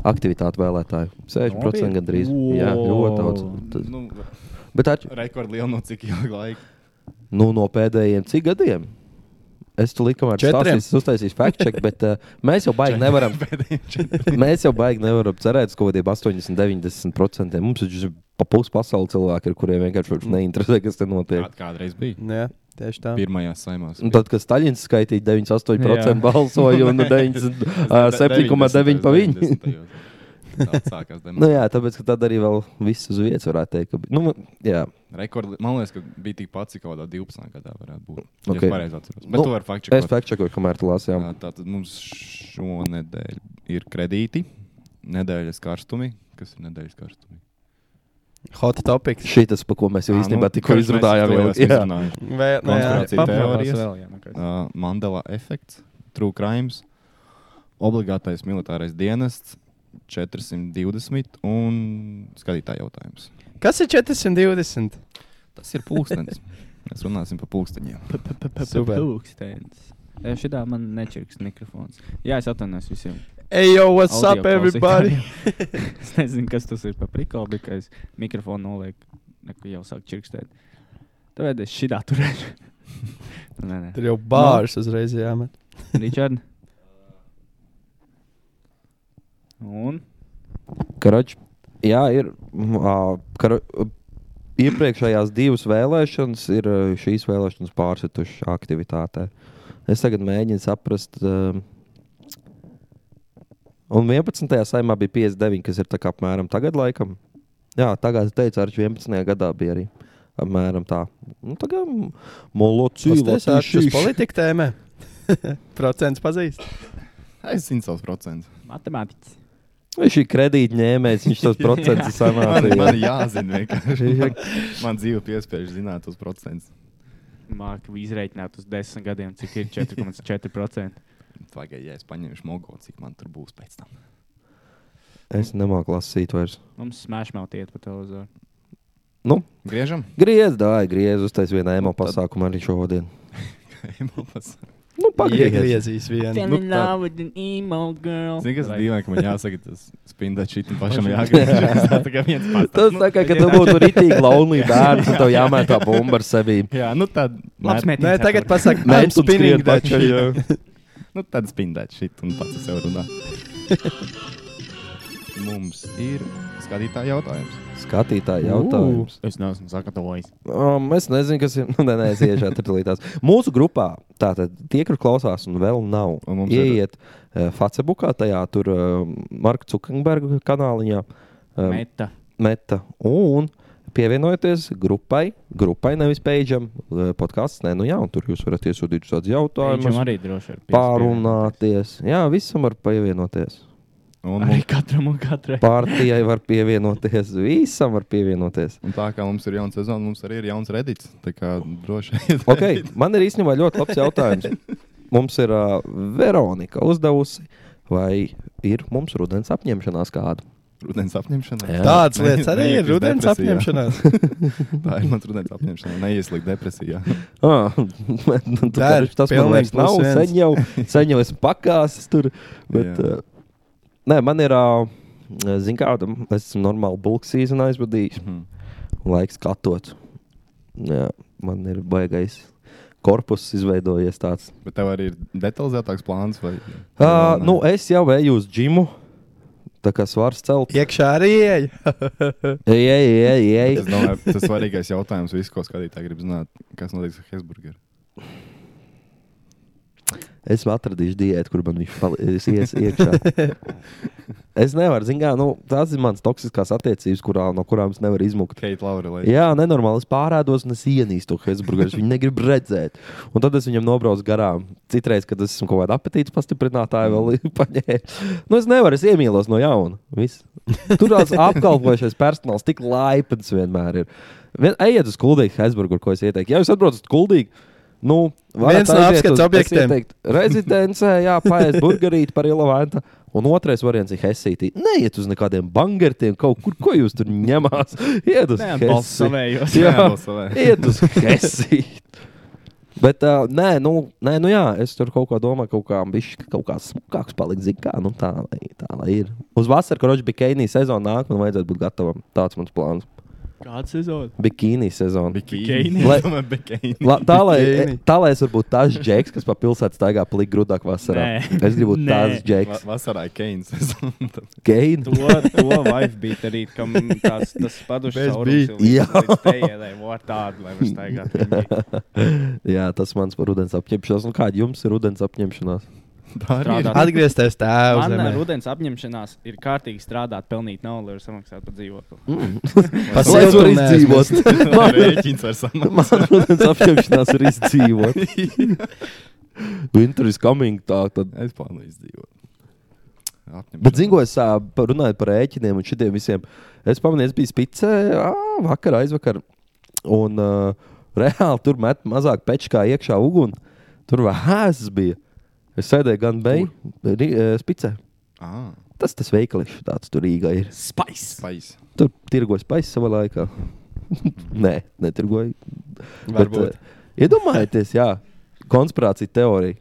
Speaker 2: aktivitāte vēlētāju. 60%
Speaker 8: Nopietni?
Speaker 2: gandrīz. Jā, ļoti daudz. Tas-
Speaker 4: Nu,
Speaker 2: Bet Arčī,
Speaker 4: rekord liela no cik ilga laika.
Speaker 2: nu, no pēdējiem cik gadiem? Es tu likumā ar
Speaker 1: Četriem.
Speaker 2: stāstīšu, uztaisīšu fact check, bet uh, mēs jau baigi nevaram. Mēs jau baigi nevaram cerēt, uz kaut kādiem 80, 90%. Mums taču ir pa pusi pasaules cilvēki, ar kuriem vienkārši vairs neinteresē, kas te notiek.
Speaker 4: Kād- Kādreiz bija?
Speaker 1: Nu, Jā, tieši tā.
Speaker 4: Pirmajā saimās.
Speaker 2: Un Nu, tad, kad Staļins skaitīja 98%
Speaker 8: Jā.
Speaker 2: balsoju un nu
Speaker 4: Tas de-
Speaker 2: 97,9% pa viņu.
Speaker 4: 90. Tā sākās
Speaker 2: Nu,
Speaker 4: demokrātija.
Speaker 2: jā, tāpēc, ka tad arī vēl viss uz vietas varētu teikt, ka bija. Nu, jā,
Speaker 4: Rekord, man liekas, ka bija tik pats, cik kaut kādā 12. gadā varētu būt. Okay.
Speaker 2: Ok.
Speaker 4: Es pareizi atceros. Bet
Speaker 2: Nu,
Speaker 4: nu, tu vari faktu
Speaker 2: es fact checkoju, kamēr tu lasījām.
Speaker 4: Tātad mums šonadēļ ir kredīti, nedēļas karstumi. Kas ir nedēļas karstumi?
Speaker 1: Hot topics.
Speaker 2: Šī tas, pa ko mēs jau
Speaker 4: Ā,
Speaker 2: īstenībā
Speaker 4: nu,
Speaker 2: tikko
Speaker 4: kurš mēs
Speaker 2: izrunājām.
Speaker 4: to jau
Speaker 2: jau-
Speaker 4: esam
Speaker 2: jā.
Speaker 4: izrunājuši.
Speaker 1: Vē- nu jā.
Speaker 4: Konspirācija
Speaker 8: Paprātās
Speaker 4: teorijas.
Speaker 8: vēl, jā, nu, kas-
Speaker 4: Uh, Mandela efekts, true crimes, obligātais militārais dienests, 420 un skatītāja jautājums.
Speaker 1: Kas ir 420?
Speaker 4: Tas ir pulkstenis. Mēs runāsim par pulksteņiem.
Speaker 1: Super.
Speaker 8: Pūkstens. E, Šitā man nečirks mikrofons. Jā, es atvainojos visiem.
Speaker 1: Hey, yo, what's
Speaker 8: Audio
Speaker 1: up, everybody?
Speaker 8: klausītājiem. es nezinu, kas tas ir par prikolu, bet kad es mikrofonu nolieku, neko jau sāk čirkstēt. Tāpēc es šitā turēšu. Nu, nē, nē.
Speaker 1: Tur jau bārs uzreiz jāmet.
Speaker 8: Ričard. Un?
Speaker 2: Karač, jā, ir. mm, ā, Kara, iepriekšējās divas vēlēšanas ir eh, šīs vēlēšanas pārsitušas aktivitātē. Es tagad mēģinu saprast, um, un 11. saimā bija 59, kas ir tā kā apmēram tagad laikam. Jā, tagad es teicu, ar 11. gadā bija arī apmēram tā. Nu, tagad
Speaker 1: Jūs
Speaker 2: molocīva.
Speaker 1: esat šīs politika tēmē. Procents pazīst.
Speaker 4: Es zinu savus procentus.
Speaker 3: Matemātiķis.
Speaker 2: Viņš ir kredītņēmējs, viņš tos procentus ir
Speaker 4: Man,
Speaker 2: samērā.
Speaker 4: man jāzina vienkārši. Man dzīve piespiež zināt tos procentus.
Speaker 8: Māku izreikināt uz desmit gadiem, cik ir 4,4%.
Speaker 4: Tagad, ja es paņemšu mogo, cik man tur būs pēc tam.
Speaker 2: Es nemāku lasīt vairs.
Speaker 8: Mums smēšmelt iet pa televizoru.
Speaker 4: Griežam,
Speaker 2: Griez, dāj, griez, uztais vienā
Speaker 4: Nu,
Speaker 2: emo pasākumā arī šodien.
Speaker 4: emopas.
Speaker 2: Nu, pagriez.
Speaker 1: Iegriezīs vienu.
Speaker 4: Nu, in tā- love
Speaker 8: with an emo girl.
Speaker 4: Zini, kas ir
Speaker 8: Vai-
Speaker 4: dīvaini, ka man jāsaka, tas spinda šitam pašam jāgriež. Tā kā viens pats.
Speaker 2: Tas tā kā, ka tu
Speaker 4: Nu,
Speaker 2: būtu rītīgi launīgi bērns, un tev jāmētā bumba ar sevi.
Speaker 4: Jā, nu tad.
Speaker 8: Labs
Speaker 4: mēr-
Speaker 1: Nē, tagad pasak,
Speaker 2: Mēģināt
Speaker 1: mēs spinning
Speaker 2: skriet
Speaker 1: taču.
Speaker 2: pakaļ,
Speaker 4: Nu tad spindēt šit un pats ar sevi runā. Mums ir skatītāja jautājums.
Speaker 2: Skatītāji jautājums.
Speaker 8: Es neesmu sagatavojis.
Speaker 2: Um, es nezinu, kas ir. Nu, nē, nē, es iešu atrapelītās. Mūsu grupā, tātad tie, kur klausās un vēl nav,
Speaker 4: Un mums ir-
Speaker 2: ieiet uh, Facebookā, tajā tur uh, Marka Zukenberga kanāliņā. Um,
Speaker 8: Meta.
Speaker 2: meta. Un pievienojieties grupai, grupai nevis peidžam, podkāsts. Nē, nu jā, un tur jūs varat iesūtīt šādus
Speaker 8: Viņam
Speaker 2: jautājumus,
Speaker 8: arī droši ir.
Speaker 2: pārunāties. Jā, visam var pievienoties.
Speaker 4: Un,
Speaker 8: Arī
Speaker 4: mums,
Speaker 8: katram un katrai.
Speaker 2: Partijai var pievienoties, visam var pievienoties.
Speaker 4: un tā kā mums ir jauna sezona, mums arī ir jauns redīts. Tā kā droši vien.
Speaker 2: Okay, man ir īstenībā ļoti labs jautājums. Mums ir uh, Veronika uzdevusi, vai ir mums rudens apņemšanās kāda?
Speaker 4: Rudens apņemšanā.
Speaker 2: Jā.
Speaker 1: Tādas
Speaker 4: Ne-
Speaker 1: lietas arī ir
Speaker 4: neiekļūst
Speaker 1: rudens
Speaker 4: depresijā.
Speaker 1: apņemšanās.
Speaker 4: Tā ir mans rudens apņemšanā. Neieslīgt depresijā.
Speaker 2: Ah, nu, tu
Speaker 1: Tā ir
Speaker 2: vari- tas man
Speaker 1: pilnīgi
Speaker 2: vairs nav.
Speaker 1: plus viens.
Speaker 2: Sen jau, sen jau esmu pakāsis tur. Bet,
Speaker 4: Jā.
Speaker 2: uh, nē, man ir. Uh, Ziniet, kāda es esmu normāli bulka sezonā aizvadījis.
Speaker 4: Mhm.
Speaker 2: Laiks skatot. Jā, man ir baigais korpus izveidojies tāds.
Speaker 4: Bet tev arī ir detalizētāks plāns. Vai,
Speaker 2: Uh,
Speaker 4: vai
Speaker 2: nu,
Speaker 4: nē?
Speaker 2: es jau eju uz džimu. Tā kā svars celt.
Speaker 1: Iekšā arī ieeja.
Speaker 2: Ej, ej, ej, ej.
Speaker 4: Es domāju, tas ir svarīgais jautājums. Visu, ko skatītāji grib zināt, kas notiks ar Hesburgeru.
Speaker 2: Es atradīšu diētu, kur man viņš pali- es ies iekšā. es nevaru, zinām, nu, tās ir manas toksiskās attiecības, kurā, no kurām es nevaru izmukt.
Speaker 4: Keita Laura, lai
Speaker 2: Jā, nenormāli. Es pārādos un es ienīstu to Hesburgeru. Viņu negrib redzēt. Un tad es viņam nobraucu garām. Citreiz, kad es esmu kaut kāda apetītes pastiprinātāja, vēl
Speaker 1: Mm.
Speaker 2: paņēmis. Nu, es nevaru, es iemīlos no jauna. Viss. Tur tas apkalpojošais personāls tik laipns vienmēr ir. Vien, ejiet uz kuldīgu Hesburgeru, ko es ieteiktu. Ja jūs atbraucat kuldīgi, nu, varat
Speaker 1: Viens no
Speaker 2: aiziet
Speaker 1: apskates
Speaker 2: uz- es
Speaker 1: objektiem.
Speaker 2: ieteiktu Rezidencē, jā, paiet burgerīti par ilavanta. Un otrais variants ir Helsītī. Neiet uz nekādiem bangertiem kaut kur, ko jūs tur ņemās. Iet uz
Speaker 8: Neatbalstu
Speaker 2: Hesi.
Speaker 8: savējos.
Speaker 2: Jā,
Speaker 4: Neatbalstu
Speaker 2: iet uz Helsīti. Bet, uh, nē, nu, nē, nu jā, es tur kaut kā domāju, kaut kā bišķi, ka kaut kā smukāks palikt, zin kā, nu tā, lai, tā lai ir. Uz vasaru, kad roģi bikīnī sezona nāk, man vajadzētu būt gatavam. Tāds mans plāns.
Speaker 8: Kāds sezona?
Speaker 2: Bikīnī sezona.
Speaker 4: Bikīni.
Speaker 2: Lai-
Speaker 4: Domāju, bikīni.
Speaker 2: La, tā, lai, e,
Speaker 1: Bikīni.
Speaker 2: tā lai es varu būt tas džeks, kas pa pilsētu staigā plīgi grūtāk vasarā.
Speaker 8: Nē.
Speaker 2: Es gribu būt
Speaker 8: Nē.
Speaker 2: tas
Speaker 4: Va-
Speaker 2: džeks.
Speaker 4: Vasarā Keins.
Speaker 2: Keina.
Speaker 8: To, to vajag bija darīt, kam tās, tas padušas
Speaker 1: bija.
Speaker 8: šaurums.
Speaker 2: Jā.
Speaker 8: Tējēlē, var tādu, lai var staigāt. viņīgi.
Speaker 2: Jā, tas mans par rudens apņemšanās. Un kāda jums ir rudens apņemšanās?
Speaker 4: Tā arī ir.
Speaker 8: Strādāt.
Speaker 1: Atgriezties tēvs.
Speaker 8: Man rudens apņemšanās ir kārtīgi strādāt, pelnīt naudu, lai varētu samaksāt par dzīvokli.
Speaker 2: Lai es varu
Speaker 1: Pasiltumnē
Speaker 2: izdzīvot.
Speaker 4: Man rēķins var samaksāt.
Speaker 2: Man rudens apņemšanās ir izdzīvot. Winter is coming. Tā, tad.
Speaker 4: Es plānoju izdzīvot. Apņemšanās.
Speaker 2: Bet, zinot, es ā, pa- runāju par rēķiniem un šitiem visiem. Es pamanīju, es biju spicē ā, vakar, aizvakar. Un uh, reāli tur met mazāk peču kā iekšā ugunī. Tur vēsas bija. Es sēdēju gan beigās, gan spicē.
Speaker 4: Ā,
Speaker 2: Tas tas veikališs tāds tur Rīgā ir.
Speaker 8: Spice!
Speaker 4: Spais.
Speaker 2: Tur tirgojas paisa savā laikā. Nē, netirgoja. Bet,
Speaker 1: Varbūt.
Speaker 2: eh, iedomājieties, jā, konspirācija teorija.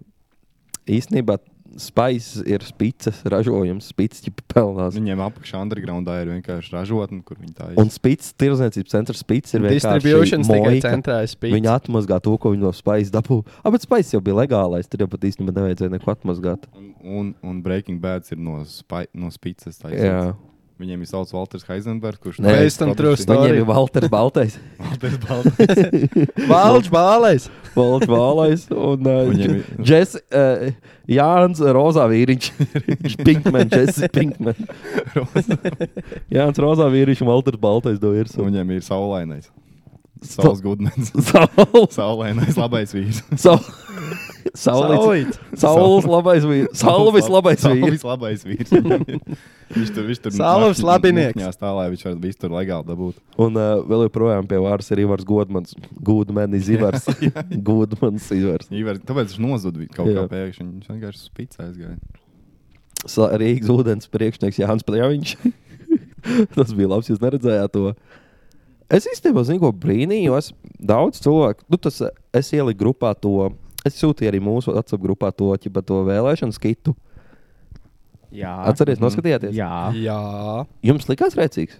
Speaker 2: Īsnībā spaiss ir spīdces ražojums, spīdces ķipa pelnās.
Speaker 4: Viņiem apakšā undergroundā ir vienkārši ražotne, kur viņi tā
Speaker 2: Un spīdces tirdzniecības centrs spīdces ir vienkārši
Speaker 1: Distribūšanas tikai
Speaker 2: moika.
Speaker 1: centrā ir
Speaker 2: Viņi
Speaker 1: spīdz.
Speaker 2: atmazgā to, ko viņi no spaiss dabū. Ah, bet spaiss jau bija legālais, tur jau pat īstenībā nevajadzēja neko atmazgāt.
Speaker 4: Un, un, un Breaking Bad ir no, spai, no spīces.
Speaker 2: Jā.
Speaker 4: Viņiem ir sauc Walters Heisenbergs, kurš
Speaker 2: Nē,
Speaker 4: teica,
Speaker 1: Based on
Speaker 4: publicist-
Speaker 1: true story.
Speaker 2: Viņiem ir Walters Baltais.
Speaker 4: Walters Balters.
Speaker 1: Valds Bālais.
Speaker 2: Valds Vālais un uh,
Speaker 4: Viņiem ir-
Speaker 2: Jess, uh, Jānis Rozā vīriņš. Pinkman, Jesse Pinkman. Jānis Rozā vīriņš un Valters Baltais do ir.
Speaker 4: Un Viņiem ir saulainais. Saules gudmens.
Speaker 2: Saules.
Speaker 4: Saulainais labais vīrs.
Speaker 2: Saules. Saules labais vīriņš. Saules labais vīriņš.
Speaker 4: Saules labais vīrs. Viņš tur viņš tur
Speaker 1: Saules
Speaker 4: nakšņi-
Speaker 1: labinieks.
Speaker 4: nakšņās tā, lai viņš varētu visu tur legāli dabūt.
Speaker 2: Un uh, vēl joprojām pie vārds ir Ivars Godmans. Godmanis Ivars. Godmans Ivars.
Speaker 4: Ivar, tāpēc viņš nozuda kaut
Speaker 2: Jā.
Speaker 4: kā pēkšņi. Viņš vienkārši spīdz aizgāja.
Speaker 2: Sa- Rīgas ūdens priekšnieks Jānis Pļaviņš. Tas bija labs, jūs neredzējāt to. Es īstenībā zinu, ko brīnījos. Daudz cilvēku, nu, tas eh, es ieliku grupā to. Es sūtīju arī mūsu WhatsApp grupā to, ķipa, to vēlēšanu skitu.
Speaker 3: Jā,
Speaker 8: Ah,
Speaker 2: Atcerieties, noskatījāties?
Speaker 3: Jā,
Speaker 1: Jā,
Speaker 2: Jums likās rēcīgs?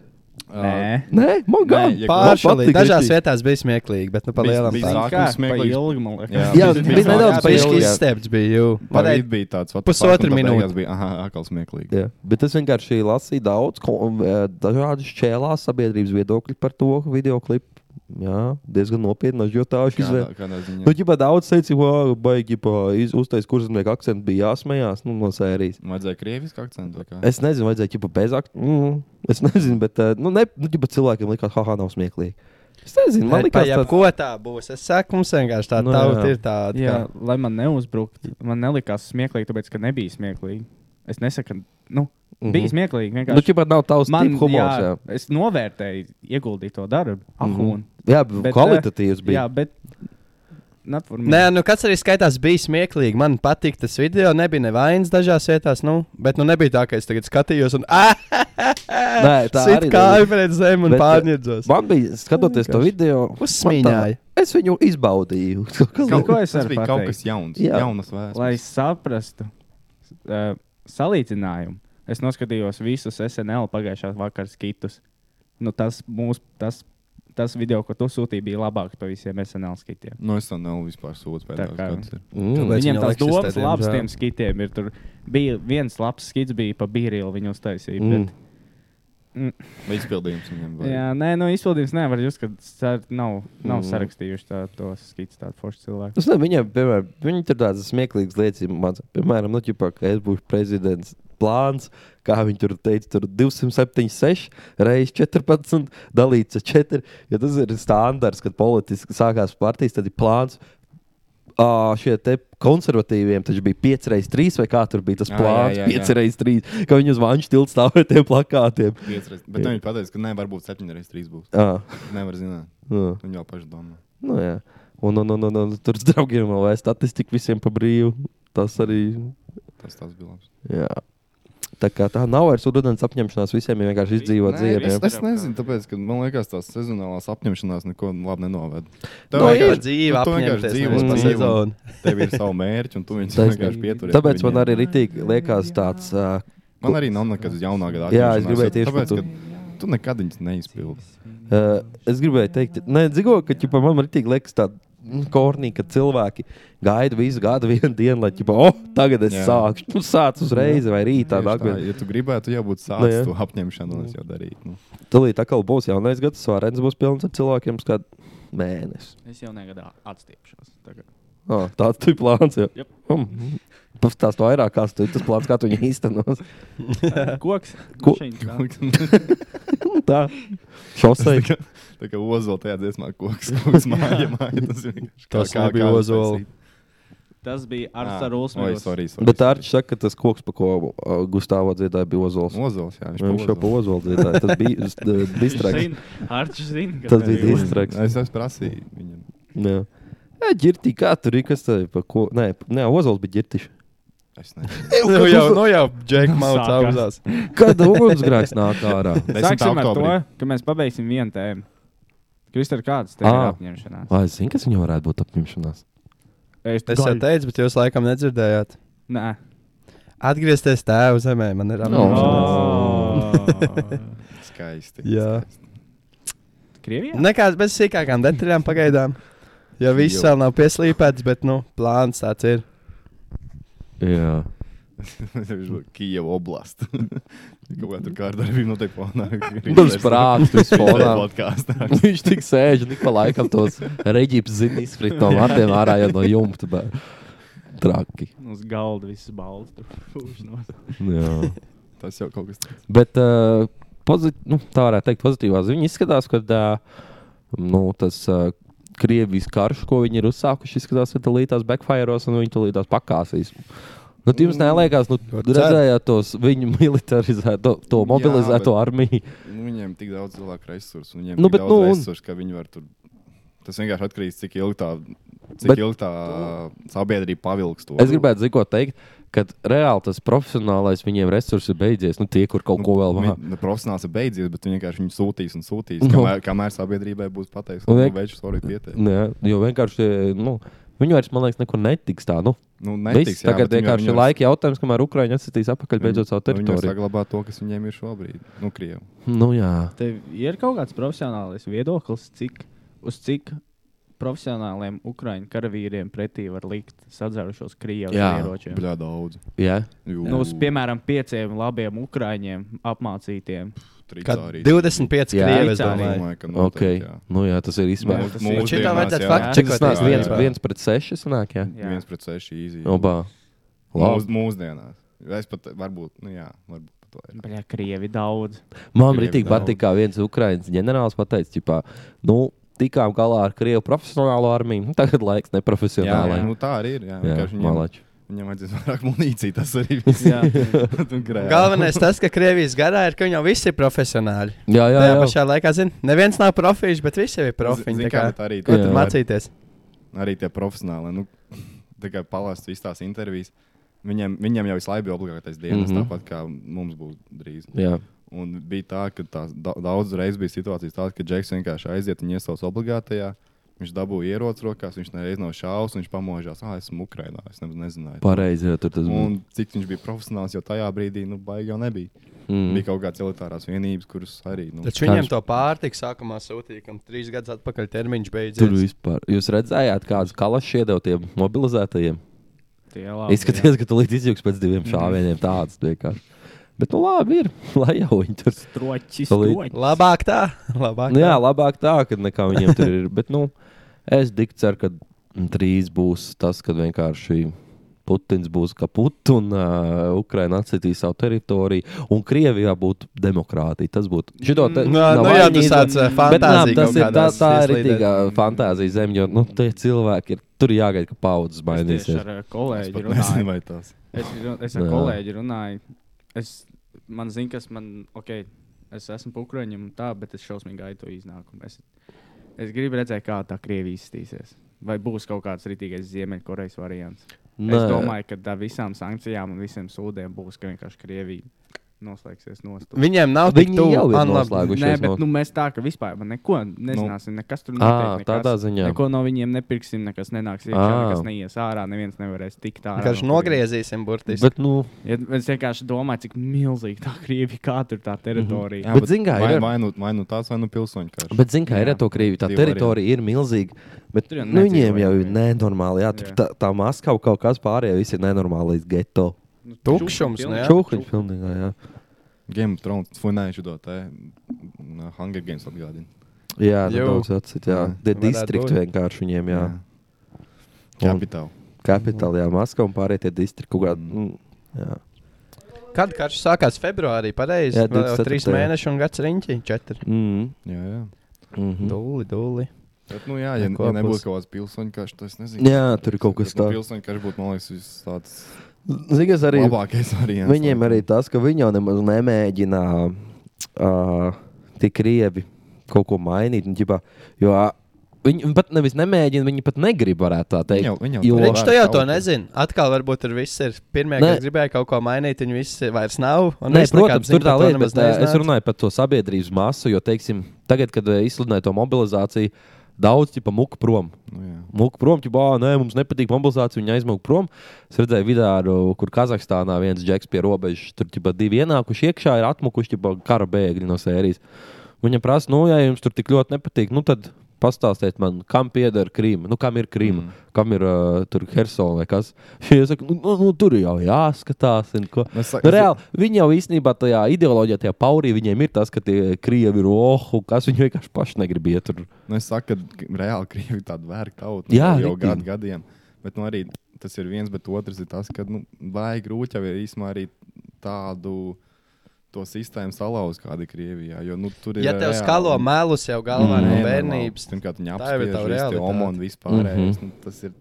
Speaker 3: nē.
Speaker 2: Nē, man gan.
Speaker 4: Nē, ja-
Speaker 1: pāršalīgi.
Speaker 2: patīk
Speaker 1: Dažās
Speaker 2: riktīgi.
Speaker 1: vietās bija smieklīgi, bet nu pa
Speaker 4: Bija-
Speaker 1: lielam
Speaker 4: bija
Speaker 1: tā.
Speaker 4: sākums
Speaker 3: Kā, pa
Speaker 4: smieklīgi.
Speaker 3: ilgi, man liekas.
Speaker 2: Jā,
Speaker 4: bija-
Speaker 2: bija nedaudz
Speaker 1: Jā, Bišķi
Speaker 2: pailgi, jā.
Speaker 1: izstepts bija jū.
Speaker 4: Pārējā
Speaker 1: Pareizi.
Speaker 4: bija tāds what the fuck,
Speaker 1: Pusotra
Speaker 4: un tad
Speaker 1: minūte.
Speaker 4: beigās Bija, aha, atkal smieklīgi.
Speaker 2: Jā, bet es vienkārši lasīju daudz ko- eh, dažādu šķēlās sabiedrības viedokļu par to video klipu. Jā, diezgan nopietni, jo tā ir izvēle.
Speaker 4: Kādā, kādā ziņā?
Speaker 2: Nu, ģipā daudz teica, ka baigi uztaisīt kurzemnieku akcentu bija jāsmējās nu, no sērijas.
Speaker 4: Vajadzēja krievisku akcentu. vai Kā?
Speaker 2: Es nezinu, vajadzēja ģipā bez akcentu. Mm, es nezinu, bet eh, nu, ne, nu, ģipā cilvēkiem likās, ka haha, nav smieklīgi. Es nezinu, man
Speaker 1: Man
Speaker 2: liekas,
Speaker 1: liekas,
Speaker 2: tas
Speaker 1: ko tā būs. Es saku, mums vienkārši tā
Speaker 2: Nu,
Speaker 1: tauta
Speaker 2: jā.
Speaker 1: ir tāda.
Speaker 3: Jā,
Speaker 1: kā-
Speaker 3: lai man neuzbruktu, man nelikās smieklīgi, tāpēc, ka nebija smieklīgi. Es nesaku, ka nu,
Speaker 2: Mhm.
Speaker 3: bija smieklīgi.
Speaker 2: Nu,
Speaker 3: Vienkārši.
Speaker 2: ģipā nav tavs man, humors.
Speaker 3: jā,
Speaker 2: Jā,
Speaker 3: es novērtēju ieguldīto darbu. Ah,
Speaker 2: Mhm.
Speaker 3: un-
Speaker 2: jā, bet,
Speaker 3: bet,
Speaker 2: kvalitatīvs
Speaker 3: eh, Jā,
Speaker 2: bija.
Speaker 3: bet. Not for me.
Speaker 1: Nē, nu kāds arī skaitās, bija smieklīgi. Man patīk tas video, nebija nevainas dažās vietās, nu, bet nu nebija tā, ka es tagad skatījos un ah,
Speaker 2: Nē, tā
Speaker 1: sit
Speaker 2: arī
Speaker 1: kāju
Speaker 2: nebija.
Speaker 1: pret zemi un
Speaker 2: Bet, eh,
Speaker 1: pārņēdzos.
Speaker 2: Man bija skatoties to video,
Speaker 1: Uzsmiņāja.
Speaker 2: man tā- Es viņu izbaudīju.
Speaker 3: Kaut ko es
Speaker 4: tas
Speaker 3: varu
Speaker 4: bija kaut
Speaker 3: pateikt?
Speaker 4: kas jauns.
Speaker 2: Jā.
Speaker 4: Jā. Jaunas vēstures.
Speaker 3: Lai saprastu uh, salīdzinājumu, es noskatījos visus SNL pagājušā vakara skitus. Nu, tas, mūs, tas, tas video, ko tu sūtīji, bija labāks par visiem SNL skitiem.
Speaker 4: Nu, es tam nav vispār sūdzu
Speaker 3: Tā
Speaker 4: pēdējos
Speaker 3: kā-
Speaker 4: gados. ir.
Speaker 2: Mm.
Speaker 1: Pēc
Speaker 3: Viņam
Speaker 1: viņa
Speaker 3: tās
Speaker 1: liekas
Speaker 3: domas
Speaker 1: izstādēm,
Speaker 3: labas
Speaker 1: jā.
Speaker 3: tiem skitiem ir. Tur bija viens labs skits, bija pa bīrīlu viņa uztaisīja.
Speaker 2: Mm.
Speaker 3: Mm.
Speaker 4: Izpildījums viņam
Speaker 3: Bet,
Speaker 4: bija.
Speaker 3: jā, nē, no izpildījums nevar jūs, ka sar, nav, nav
Speaker 2: Mm.
Speaker 3: mm. sarakstījuši tā, tos skits tādu foršu cilvēku.
Speaker 2: Es nezinu, viņiem, piemēram, viņi tur tādas smieklīgas lietas, man, piemēram, nu, ķipā, ka es būšu prezidents. Plāns, kā viņi tur teica, tur 276 reizes 14 dalīts ar 4. Ja tas ir standarts, kad politiski sākās partijas, tad ir plāns. Uh, šie te konservatīviem taču bija 5 reizes 3 vai kā tur bija tas
Speaker 4: Jā, jā,
Speaker 2: plāns.
Speaker 4: jā, jā.
Speaker 2: 5 reizes 3, ka viņi uz vanšu tiltu stāvēja tiem plakātiem.
Speaker 4: Piecreiz. Bet
Speaker 2: Jā.
Speaker 4: viņi pateica, ka nevar būt septiņi reizes trīs būs.
Speaker 2: Uh,
Speaker 4: Nevar zināt.
Speaker 2: uh.
Speaker 4: Viņi jau paši domā.
Speaker 2: Nu, jā. un, un, un, un, un tur draugiem vēl vajag statistiku visiem pa brīvu. Tas arī
Speaker 4: Tas tas bija labs.
Speaker 2: Jā. Tā kā tā nav vairs rudens apņemšanās, visiem ir vienkārši izdzīvot
Speaker 8: Nē,
Speaker 2: dzīvi.
Speaker 8: viss
Speaker 2: jā.
Speaker 8: tas-
Speaker 4: Es nezinu, tāpēc, ka man liekas, tās sezonālās apņemšanās neko labi nenovada.
Speaker 1: Tā
Speaker 4: Tev
Speaker 1: no, ir
Speaker 4: vienkārši- nu,
Speaker 1: dzīve,
Speaker 4: tu vienkārši
Speaker 1: apņemties
Speaker 4: dzīvo
Speaker 1: dzīvo pa
Speaker 2: mm.
Speaker 1: sezonu.
Speaker 4: Tev ir savi mērķi, un tu viņus
Speaker 2: Tas-
Speaker 4: vienkārši pieturi.
Speaker 2: Tāpēc man arī ritīgi liekas tāds, uh,
Speaker 4: Man arī nav nekas jaunā gadā.
Speaker 2: Jā, es gribēju tieši par
Speaker 4: tāpēc,
Speaker 2: to.
Speaker 4: ka tu nekad viņus neizpildīsi.
Speaker 2: uh, es gribēju teikt, ne, dzigo, ka ķipa, man ritīgi liekas tāds kornīgi, ka cilvēki gaida visu gadu vienu dienu, lai, ķipa, oh, tagad es
Speaker 4: Jā.
Speaker 2: sākšu, nu, sāc uzreiz vai rītā.
Speaker 4: Tieši
Speaker 2: nākamajā-
Speaker 4: ja tu gribētu, jau būtu
Speaker 2: Nu, jā.
Speaker 4: sācis to apņemšanos jau darīt. Nu.
Speaker 2: Tūlīt atkal būs jaunais gads, svārens būs pilns ar cilvēkiem, uz kādu mēnesi.
Speaker 8: Es jau negadā atstiepšos. tagad.
Speaker 2: Oh, tāds tu plāns jau.
Speaker 8: Jep.
Speaker 2: Mm. Pastāst vairāk, kas tu tas plāns, kā tu viņu īstenos.
Speaker 8: Koks.
Speaker 2: Ko-
Speaker 8: Mašīna,
Speaker 2: Tā, šosei.
Speaker 4: Tā kā ozola tajā dziesmā koks, koks māja, māja. Tas, vienkārši
Speaker 1: Tas
Speaker 4: kā- kā-
Speaker 1: nebija
Speaker 4: kā
Speaker 1: ozola.
Speaker 4: taisīt.
Speaker 8: tā. Tas bija
Speaker 4: Ā,
Speaker 8: Arsta
Speaker 4: Oi,
Speaker 8: Rūsmēs.
Speaker 4: sorry, sorry.
Speaker 2: Bet Arčs saka, ka tas koks, pa ko uh, Gustavs dziedāja, bija ozols.
Speaker 4: Ozols, jā, viņš
Speaker 2: Viņš jau pa ozolu
Speaker 4: ozols.
Speaker 2: dziedāja. Tas bija uh, s- d- distrakts.
Speaker 8: Arčs zina, ka
Speaker 2: Tas
Speaker 8: tā
Speaker 2: bija
Speaker 8: ir.
Speaker 2: distrakts.
Speaker 4: Es jau prasīju viņam.
Speaker 2: Jā, Jā, ģirti, kā tur ir, kas tev ir pa ko? Nē, p- nē ozols bija ģirtiši.
Speaker 4: Es nezinu.
Speaker 1: Nu jau, nu jau, Džek, mauts
Speaker 8: Sākās.
Speaker 1: augstās.
Speaker 2: Kad ugunsgrēks nāk ārā?
Speaker 4: Desmit
Speaker 3: Sāksim ar to,
Speaker 4: oktobrī.
Speaker 3: ka mēs pabeigsim vienu tēmu. Kristāli, kādas tev ir
Speaker 2: Ā.
Speaker 3: apņemšanās?
Speaker 2: Ai, es zinu, kas viņam varētu būt apņemšanās.
Speaker 1: Es jau teicu, bet jūs laikam nedzirdējāt.
Speaker 3: Nē,
Speaker 1: Atgriezties tēvu zemē, man ir
Speaker 8: Nu.
Speaker 3: Oh.
Speaker 4: Skaisti.
Speaker 1: Jā.
Speaker 4: skaisti.
Speaker 3: Krievijā?
Speaker 1: Nu, Nekāds bez sīkākām detaļām pagaidām. Jo viss
Speaker 4: Jo.
Speaker 1: vēl nav pieslīpēts, bet nu, plāns tāds ir.
Speaker 2: Jā,
Speaker 4: Viņš bija Kijava oblasts. Kaut kā tur kārdarbība notiek fonā.
Speaker 2: Mums prātus fonā.
Speaker 4: podkāstā.
Speaker 2: Viņš tik sēž un ik pa laikam tos reģips zina izfrit no matiem ārā jau no jumta. bē. Traki.
Speaker 8: Uz galda viss balsts. tur pūš nost.
Speaker 2: Jā.
Speaker 4: Tas jau kaut kas tāds.
Speaker 2: Bet uh, pozit, nu, tā varētu teikt, pozitīvā ziņa izskatās, ka uh, nu, tas uh, Krievijas karš, ko viņi ir uzsākuši, izskatās, ka tālītās backfireos un viņi tālītās pakāsīs. Nu, tu
Speaker 4: Mm.
Speaker 2: jums neliekas, nu,
Speaker 1: To ceru.
Speaker 2: redzējāt tos viņu militarizēto, to
Speaker 4: Jā,
Speaker 2: mobilizēto Jā, armiju.
Speaker 4: Nu, viņiem tik daudz cilvēku resursu, un viņiem
Speaker 2: Nu,
Speaker 4: nu, tik
Speaker 2: bet,
Speaker 4: daudz
Speaker 2: nu,
Speaker 4: nu,
Speaker 2: un-
Speaker 4: resursu, ka viņi var tur. Tas vienkārši atkarīgs no tā, cik ilgi tā, cik
Speaker 2: Bet-
Speaker 4: bet, ilgi tā sabiedrība pavilks to.
Speaker 2: Es gribētu ziko teikt, ka reāli tas profesionālais viņiem resursi ir beidzies. Nu, tie, kur kaut ko vēl vajag.
Speaker 4: Nu, profesionāls ir beidzies, bet viņi vienkārši viņu sūtīs un sūtīs.
Speaker 2: Nu.
Speaker 4: No. Kamēr, kamēr sabiedrībai būs pateikts, ka
Speaker 2: Un vien-
Speaker 4: nu, veids arī pietiek.
Speaker 2: Jā, jo vienkārši, tie, nu, viņi vairs, man liekas, nekur netiks tā. Nu,
Speaker 4: Nu,
Speaker 2: Netiks,
Speaker 4: netiks,
Speaker 2: Viss, tagad vienkārši ir laika jautājums, kamēr Ukraiņa atsitīs apakaļ beidzot savu
Speaker 4: Viņi
Speaker 2: teritoriju.
Speaker 4: saglabā to, kas viņiem ir šobrīd. Nu, Krievi.
Speaker 2: Nu, jā.
Speaker 3: Tev ir kaut kāds profesionāls viedoklis, cik, uz cik profesionāliem ukrāņu karavīriem pretī var likt sadzērušos krievu
Speaker 2: Jā,
Speaker 3: ieročiem.
Speaker 4: Bļā daudz.
Speaker 2: jā.
Speaker 4: Jū,
Speaker 3: Nu, uz, piemēram, pieciem labiem ukrāņiem apmācītiem.
Speaker 1: Kad
Speaker 4: tricārī.
Speaker 1: 25
Speaker 2: Jā.
Speaker 1: krievi, es
Speaker 3: Tricārī.
Speaker 1: domāju.
Speaker 4: Domāju, ka
Speaker 2: Okay.
Speaker 4: noteikti, jā.
Speaker 2: Nu, jā, tas ir izsmēķis.
Speaker 3: tas
Speaker 4: Mūs-
Speaker 3: ir-
Speaker 1: Šitā
Speaker 4: mūsdienās,
Speaker 1: vajadzētu
Speaker 4: jā.
Speaker 1: faktu
Speaker 2: Cik tas
Speaker 1: čekot,
Speaker 2: nāk?
Speaker 1: jā,
Speaker 2: Viens,
Speaker 1: jā.
Speaker 2: viens pret seši sanāk, jā.
Speaker 8: Jā.
Speaker 4: viens pret seši īsi.
Speaker 2: Obā.
Speaker 4: Mūs,
Speaker 2: Nu, Labi.
Speaker 4: mūsdienās. Es pat varbūt, nu jā, varbūt pat vairāk.
Speaker 8: Bļā, krievi daudz.
Speaker 2: Man
Speaker 4: Krieviem
Speaker 2: ritīgi
Speaker 4: daudz.
Speaker 2: patīk, kā viens Ukraiņas ģenerālis pateica, ķipā, nu, tikām galā ar Krievu profesionālo armiju, nu, tagad laiks
Speaker 4: jā,
Speaker 2: neprofesionālai.
Speaker 4: nu, tā arī ir.
Speaker 2: Jā,
Speaker 4: Jā, vienkārši viņiem,
Speaker 2: malači.
Speaker 4: viņiem vajadzēs vairāk munīciju. Tas arī viss.
Speaker 3: Jā.
Speaker 4: Tu grēli.
Speaker 1: Galvenais tas, ka Krievijas garā ir, ka viņi jau visi ir profesionāļi.
Speaker 2: Jā, jā,
Speaker 1: Tajā
Speaker 2: jā.
Speaker 1: pašā laikā, zinu, neviens nav profils, bet visi jau ir
Speaker 4: Zini,
Speaker 1: profili.
Speaker 4: kā, bet arī
Speaker 1: Ko
Speaker 2: Jā.
Speaker 1: tur mācīties?
Speaker 4: arī tie profesionāli. Nu, tikai palāst visas tās intervijas. Viņiem, viņiem jau visu laiku bija obligātais dienas, mm
Speaker 2: Mhm.
Speaker 4: -hmm. tāpat kā mums būs drīz.
Speaker 2: jā.
Speaker 4: Un bija tā, ka tās da daudz reizes bija situācijas tādas, ka Džeks vienkārši aiziet un iesauc obligātajā. Viņš dabūja ieroci rokās, viņš nereiz nav šausmas, viņš pamožās, ah, esmu Ukrainā. Es nemaz nezināju.
Speaker 2: Pareizi, jā, tur tas bija.
Speaker 4: Un cik viņš bija profesionāls, jau tajā brīdī, nu, baigi jau nebija. Mm.
Speaker 2: Mm.
Speaker 4: Bija kaut kādas elitārās vienības, kuras arī. Nu,
Speaker 1: Taču viņiem to pārtiku sākumā sūtīja, kam trīs gadus atpakaļ termiņš
Speaker 2: Tur
Speaker 1: beidzies.
Speaker 2: vispār. Jūs redzējāt, kādas kalašas iedeva tiem mobilizētajiem?
Speaker 8: Tie labi. jā.
Speaker 2: Izskaties, ka tu līdz izjūgs pēc
Speaker 1: Mhm.
Speaker 2: diviem šāvieniem tāds vienkārši. Bet, nu, labi, ir. Lai jau viņi tur
Speaker 8: Stroķis,
Speaker 2: Salīt.
Speaker 8: stroķis.
Speaker 1: Labāk tā, labāk.
Speaker 2: Nu,
Speaker 1: tā.
Speaker 2: jā, labāk tā, ka nekā viņiem tur ir. Bet, nu, es tik ceru, ka drīz būs tas, kad vienkārši Putins būs kaput un uh, Ukraina atsitīs savu teritoriju, un Krievijā būtu demokrātija. Tas būtu. Šito te-
Speaker 1: Nu,
Speaker 2: nav
Speaker 1: nu, jā,
Speaker 2: vainīgi,
Speaker 1: tas tāds eh,
Speaker 2: Bet, nā, tas
Speaker 1: fantāzija. kaut
Speaker 2: ir tā,
Speaker 1: kādās
Speaker 2: tā ir
Speaker 1: ieslīdēt.
Speaker 2: tā fantāzija zeme, jo nu, tie cilvēki ir tur jāgaida, ka paudzes
Speaker 8: Es tieši
Speaker 2: mainīsies.
Speaker 8: ar ā,
Speaker 4: es pat
Speaker 8: kolēģi runāju.
Speaker 4: nezinu, vai tas ir.
Speaker 8: Es, ru- es ar
Speaker 2: Jā.
Speaker 8: kolēģi runāju. Es, man zina, kas man, ok, es esmu pukuļiņš un tā, bet es šausmīgi gaidu to iznākumu. Es, es gribu redzēt, kā tā Krievija izskatīsies. Vai būs kaut kāds rītīgais Ziemeļkorejas variants? Nē. Es domāju, ka ar visām sankcijām un visiem sūdiem būs, ka vienkārši Krievija noslēgsies nost.
Speaker 1: Viņiem nav tik
Speaker 2: Viņi
Speaker 1: tuvu.
Speaker 2: jau ir
Speaker 1: Man labi.
Speaker 2: noslēguši.
Speaker 8: Nē,
Speaker 2: noslēgušies
Speaker 8: bet
Speaker 2: no-
Speaker 8: nu, mēs tā kā vispār neko nezināsim. Nekas tur
Speaker 2: Ā,
Speaker 8: notiek. nekas.
Speaker 2: tādā ziņā. Ah.
Speaker 8: Neko no viņiem nepirksim, nekas nenāks iekšā,
Speaker 2: Ā.
Speaker 8: nekas neies ārā. Neviens nevarēs tikt ārā.
Speaker 1: Vienkārši
Speaker 8: no kurienes.
Speaker 1: nogriezīsim burtiski.
Speaker 2: Bet, nu,
Speaker 8: Ja, es vienkārši domāju, cik milzīga tā Krievija kā tur tā teritorija.
Speaker 2: bet zini, kā ir.
Speaker 4: Vai,
Speaker 2: ar-
Speaker 4: vai, nu, vai nu tās, vai nu pilsoņu kārtas.
Speaker 2: Bet, zinām, kā ir ar
Speaker 8: Jā.
Speaker 2: to krīvi, tā
Speaker 4: Divi
Speaker 2: teritorija ir milzīga. Bet
Speaker 8: Tur jau
Speaker 2: nu, viņiem
Speaker 8: nedzīvo
Speaker 2: jau ir
Speaker 8: neviens.
Speaker 2: nenormāli. Jā, tur
Speaker 8: Jā.
Speaker 2: tā, tā Maskava kaut kas pārējais, viss ir nenormāli līdz geto.
Speaker 8: Nu,
Speaker 1: tukšums,
Speaker 8: čukšana
Speaker 1: nu jā.
Speaker 8: pilna.
Speaker 2: Čūkuļi pilnībā. Jā,
Speaker 4: Game of Thrones, funējuši to te mm, Hunger Games atgādina.
Speaker 2: jā nu,
Speaker 1: Jū.
Speaker 2: daudz atcīt. Jā,
Speaker 4: Jā.
Speaker 2: tie
Speaker 1: Varētu
Speaker 2: distrikti
Speaker 1: būt.
Speaker 2: vienkārši viņiem, jā. Un
Speaker 4: Kapitāla.
Speaker 2: Kapitāli, jā, Maskava un pārējie tie distrikti kaut kādā.
Speaker 4: Mm.
Speaker 2: Jā.
Speaker 1: Kad karš sākās februārī, pareizi.
Speaker 2: Jā,
Speaker 1: Jā, 24.
Speaker 2: 24.
Speaker 1: Trīs mēneši un gads riņķi. Četri.
Speaker 2: Mm.
Speaker 4: Jā, jā.
Speaker 2: Mhm.
Speaker 1: Dūli, dūli.
Speaker 4: Bet, nu, jā, ja,
Speaker 1: Neko
Speaker 4: ja nebūtu
Speaker 1: plus.
Speaker 4: kaut kāds pilsoņu kārtas, tad es nezinu.
Speaker 2: Jā, tur ir kaut kas
Speaker 4: Bet, nu,
Speaker 2: tāds.
Speaker 4: Pilsoņu kārtas būtu, man liekas, viss tāds
Speaker 2: Zini, kas arī
Speaker 4: labākais variants.
Speaker 2: Viņiem arī tas, ka viņi jau nemaz nemēģina uh, tik riebi kaut ko mainīt. Un, ģipā, jo, ā, viņi pat nevis nemēģina, viņi pat negrib, varētu tā teikt.
Speaker 4: Viņi jau- viņi jau
Speaker 2: jo,
Speaker 4: to
Speaker 1: Viņš
Speaker 4: vairs
Speaker 1: to jau
Speaker 4: nav
Speaker 1: to
Speaker 4: tur.
Speaker 1: nezina. Atkal varbūt tur viss ir. Pirmie,
Speaker 2: Nē.
Speaker 1: kas gribēja kaut ko mainīt, viņi visi vairs nav. un
Speaker 2: Nē,
Speaker 1: viss nekāds
Speaker 2: protams,
Speaker 1: zina
Speaker 2: tur tā
Speaker 1: par to
Speaker 2: lieta,
Speaker 1: nemaz
Speaker 2: bet eh, es
Speaker 1: nezināja.
Speaker 2: runāju par to sabiedrības masu, jo, teiksim, tagad, kad eh, izsludināja to mobilizāciju, daudz tipa muka prom.
Speaker 4: Nu, jā.
Speaker 2: Mūka prom, jau tā, mums nepatīk mobilizācija, viņa aizmūka prom. Es redzēju, vidāru, kur Kazahstānā viens džeks pie robežas, tur jau divi ienākuši iekšā, ir atmukuši ķipa, kara bēgļi no sērijas. Viņam prasa, nu, ja jums tur tik ļoti nepatīk, nu tad pastāstiet man, kam pieder Krīma, nu, kam ir Krīma, mm. kam ir uh, tur Helsinas vai kas. Viņi saka, nu, nu, nu, tur jau jāskatās. un ko."
Speaker 4: Es saku-
Speaker 2: Nu, reāli, viņi jau īstenībā tajā ideoloģijā, tajā paurī, viņiem ir tas, ka tie krievi ir ohu, kas viņi vienkārši paši negrib iet tur.
Speaker 4: Nu, es saku, ka k- reāli krievi ir tāda vērta tauta nu,
Speaker 2: Jā,
Speaker 4: jau
Speaker 2: riktīgi.
Speaker 4: gadu gadiem. Bet nu, arī tas ir viens, bet otrs ir tas, ka nu, vajag grūti jau ir īstenībā arī tādu. To sistēmu salauzt, kāda ir Krievijā. Jo, nu, tur ir
Speaker 1: Ja tev
Speaker 4: reāli-
Speaker 1: skalo mēlus jau galvā no bērnības,
Speaker 4: Mm. Pirmkārt,
Speaker 1: Tā jau ir
Speaker 4: viņa apgleznoja
Speaker 1: tava
Speaker 4: to
Speaker 1: realitāte.
Speaker 4: omonu vispārējais.
Speaker 2: Mhm.
Speaker 4: Mm -hmm.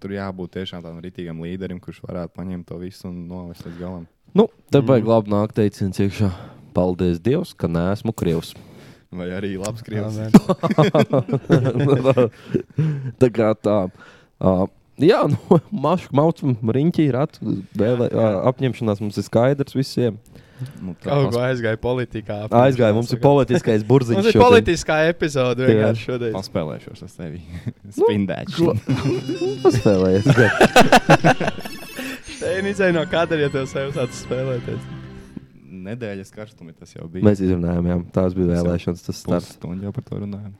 Speaker 4: Tur jābūt tiešām tādam rītīgam līderim, kurš varētu paņemt to visu un novest līdz galam.
Speaker 2: Nu, tev vajag mm. labi nākt teiciens iekšā. Paldies Dievam, ka neesmu krievs.
Speaker 4: Vai arī labs krievs.
Speaker 2: tā kā tā. Uh, jā, nu, mašku maucam, riņķī ir at, dēlē, uh, apņemšanās mums ir skaidrs visiem.
Speaker 4: nu, tā
Speaker 1: kaut
Speaker 4: pas-
Speaker 1: ko aizgāja politikā.
Speaker 2: Aizgāja, mums ir politiskais burziņš.
Speaker 1: Mums ir politiskā epizode vienkārši šodien.
Speaker 4: Paspēlēšos ar tevi.
Speaker 1: Nu,
Speaker 4: Spindēšu.
Speaker 2: Paspēlējies. gan.
Speaker 1: Tā ir izēja no kadra, ja tev sev sāc spēlēties.
Speaker 4: Nedēļas karstumi tas jau bija.
Speaker 2: Mēs izrunājām, jā, tās bija vēlēšanas, tas starts.
Speaker 4: pusstundu jau par to runājām.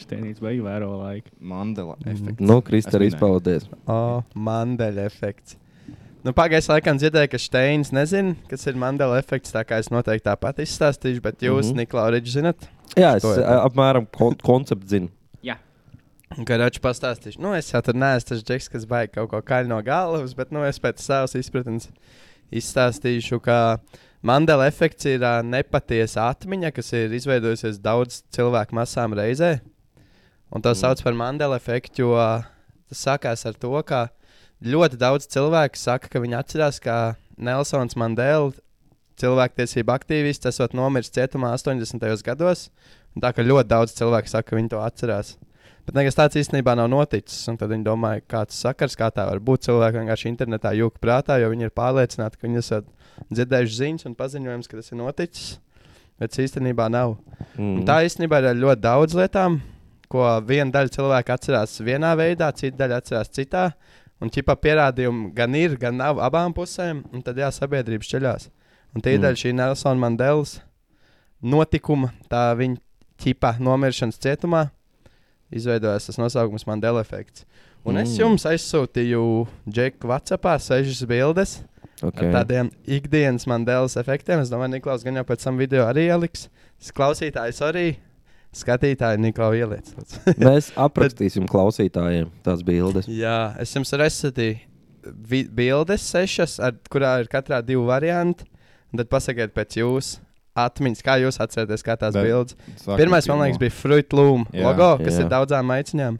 Speaker 8: Štenīts beigas vēro laiku.
Speaker 4: Mandela
Speaker 1: Mhm.
Speaker 4: efekts.
Speaker 2: Nu, Krista, arī
Speaker 4: Es minēju.
Speaker 2: paldies.
Speaker 1: Oh, Mandela efekts. Nu, Pagājušajā laikā dzirdēju, ka Steins nezina, kas ir Mandela efekts. Tā kā es noteikti tāpat izstāstīšu, bet jūs, mm
Speaker 2: Mhm.
Speaker 1: -hmm. Niklaus, zinat,
Speaker 2: Jā, es
Speaker 1: To ir.
Speaker 2: ā, apmēram kon konceptu zinu.
Speaker 1: kad viņš pastāstīs. Nu, es jau tur neesmu tas džeks, kas baidās kaut ko kaļ no galvas, bet nu, es pēc savas izpratnes izstāstīšu, ka Mandela efekts ir ā, nepatiesa atmiņa, kas ir izveidojusies daudz cilvēku masām reizē. Un to sauc par Mandela efektu, jo ā, tas sākās ar to, ka ļoti daudz cilvēku saka, ka viņi atcerās, ka Nelsons Mandela, cilvēktiesība aktīvists, tas var nomirt cietumā 80. gados. Un Tā kā ļoti daudz cilvēku saka, ka viņi to atcerās. Bet nekas tāds īstenībā nav noticis. Un tad viņi domāja, kāds ir sakars, kā tā var būt. Cilvēki vienkārši internetā jūka prātā, jo viņi ir pārliecināti, ka viņi esat dzirdējuši ziņas un paziņojums, ka tas ir noticis. Bet tas īstenībā nav. Mm. Tā īstenībā ir ar ļoti daudz lietām, ko viena daļa cilvēka atcerās vienā veidā, cita daļa atcerās citā. Un ķipa pierādījumi gan ir, gan nav abām pusēm. Un tad jā, sabiedrība šķeļās. Un tie ir
Speaker 2: Mm.
Speaker 1: mm. daļa šī Nelsona Mandelas notikuma, tā viņa ķipa nomiršanas cietumā. Izveidojās tas nosaukums Mandela efekts. Un mm. es
Speaker 2: Mm.
Speaker 1: jums aizsūtīju Džeku Vatsapā sešas bildes okay. ar
Speaker 2: okay.
Speaker 1: tādiem ikdienas Mandelas efektiem. Es domāju, Niklaus, gan jau pēc tam video arī ieliks. S- Klausītājs arī. Skatītāji, Niklaus, ieliec. lūdzu.
Speaker 2: Mēs aprakstīsim klausītājiem tās bildes.
Speaker 1: Jā, es jums arī aizsūtīju vi- bildes, sešas, ar kurām ir katrā divi varianti. Un Tad pasakiet, pēc jūsu atmiņas, kā jūs atceraties, kā tās
Speaker 4: Bet-
Speaker 1: bildes. Pirmais, man liekas, bija Fruit Loom
Speaker 4: Jā.
Speaker 1: logo, kas
Speaker 2: Jā.
Speaker 1: ir daudzām aiciņām.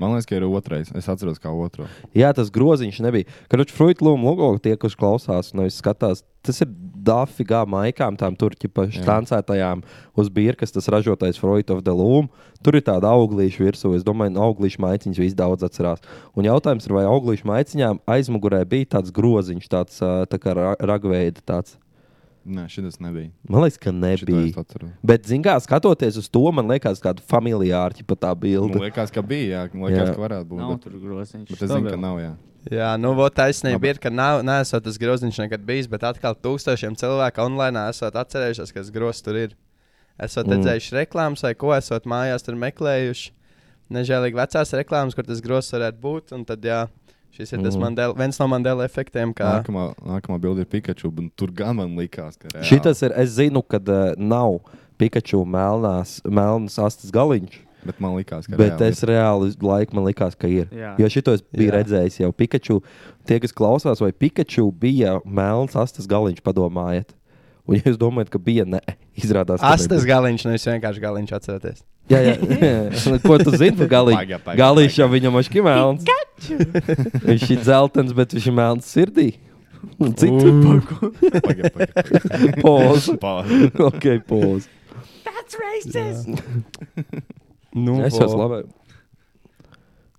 Speaker 4: Man liekas, ka ir otrais. Es atceros, kā otru.
Speaker 2: Jā, tas groziņš nebija. Kad viņš fruitlūmu logo tie, kurš klausās un nevis skatās, tas ir dafigā maikām, tām tur ķipa štancētajām uz birkas, tas ražotais Fruit of the Loom. Tur ir tāda auglīša virsū. Es domāju, no auglīša maiciņas viss daudz atcerās. Un jautājums ir, vai auglīša maiciņām aizmugurē bija tāds groziņš, tāds ā, tā kā ra- ragveida tāds.
Speaker 4: Nē, šis nebija.
Speaker 2: Man liekas, ka
Speaker 4: Šito es
Speaker 2: nebija.
Speaker 4: atceros.
Speaker 2: Bet, zināmā mērā, skatoties uz to, man liekas, kāda familiāra ķipa tā
Speaker 4: Man
Speaker 2: bilde.
Speaker 4: liekas, ka bija. Jā, man
Speaker 2: Jā.
Speaker 4: liekas, ka varētu
Speaker 8: Nav
Speaker 4: būt. Bet,
Speaker 8: tur groziņš.
Speaker 4: bet es zinu, ka nav. Jā.
Speaker 1: Jā, nu, vot, taisnība
Speaker 4: Labi.
Speaker 1: ir, ka nav, nesot tas groziņš nekad bijis, bet atkal tūkstošiem cilvēku online esat atcerējušies, kas grozs tur ir. Esat
Speaker 2: Mm.
Speaker 1: mm. redzējuši reklāmas, vai ko esat mājās tur meklējuši. Nežēlīgi vecās reklāmas, kur tas grozs varētu būt. Un tad, jā, šis ir mm. tas
Speaker 2: Mm.
Speaker 1: Mandela, viens no Mandela efektiem, kā
Speaker 4: Nākamā, nākamā bilde ir Pikachu. un Tur gan man likās, ka reāli.
Speaker 2: Šitas ir, es zinu, ka uh, nav Pikachu melnās, melnas astes galiņš,
Speaker 4: Bet man likās, ka
Speaker 2: bet
Speaker 4: reāli
Speaker 2: es reāli uz laiku man likās, ka ir.
Speaker 8: Jā.
Speaker 2: Jo šito es biju
Speaker 1: Jā.
Speaker 2: redzējis jau Pikachu. Tie, kas klausās, vai Pikachu bija melns astes galiņš, padomājiet. Un ja jūs domājat, ka bija, ne, izrādās, ka
Speaker 1: astes galiņš, nevis vienkārši galiņš atcerēties.
Speaker 2: Jā, jā. jā. Nu, Ko tu zini par galīgi?
Speaker 4: Paga, paga,
Speaker 2: Galīgi jau viņam ir melns. viņš ir dzeltens, bet viņš ir melns sirdī. Un citur paku. Pauze.
Speaker 4: Pauze.
Speaker 2: ok, pauze.
Speaker 1: Nu,
Speaker 2: Es jau slavēju.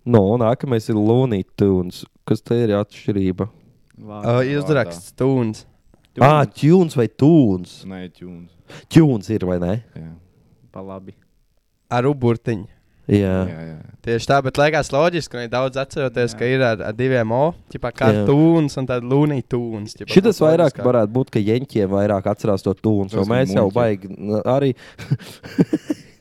Speaker 2: No, nākamais ir Lunītuns. Kas te ir atšķirība?
Speaker 4: Ah,
Speaker 1: Uh,
Speaker 8: Vārds.
Speaker 1: Izdraksts stūns.
Speaker 2: Ā, ah, tunes vai tūns?
Speaker 4: Nē, ķūns.
Speaker 2: Tunes ir vai ne?
Speaker 4: Jā,
Speaker 8: Pa labi.
Speaker 1: Ar uburtiņu.
Speaker 4: jā,
Speaker 2: Jā.
Speaker 4: jā.
Speaker 1: Tieši tā, bet liekas loģiski, ka ir daudz atceroties,
Speaker 8: Jā.
Speaker 1: jā. ka ir ar, ar diviem O, tipā kartūns un tad lunītūns.
Speaker 2: Šitas vairāk varētu būt, ka jeņķiem vairāk atcerās to tūnu.
Speaker 4: Tas
Speaker 2: Mēs jau
Speaker 4: muļķi.
Speaker 2: baigi n- arī.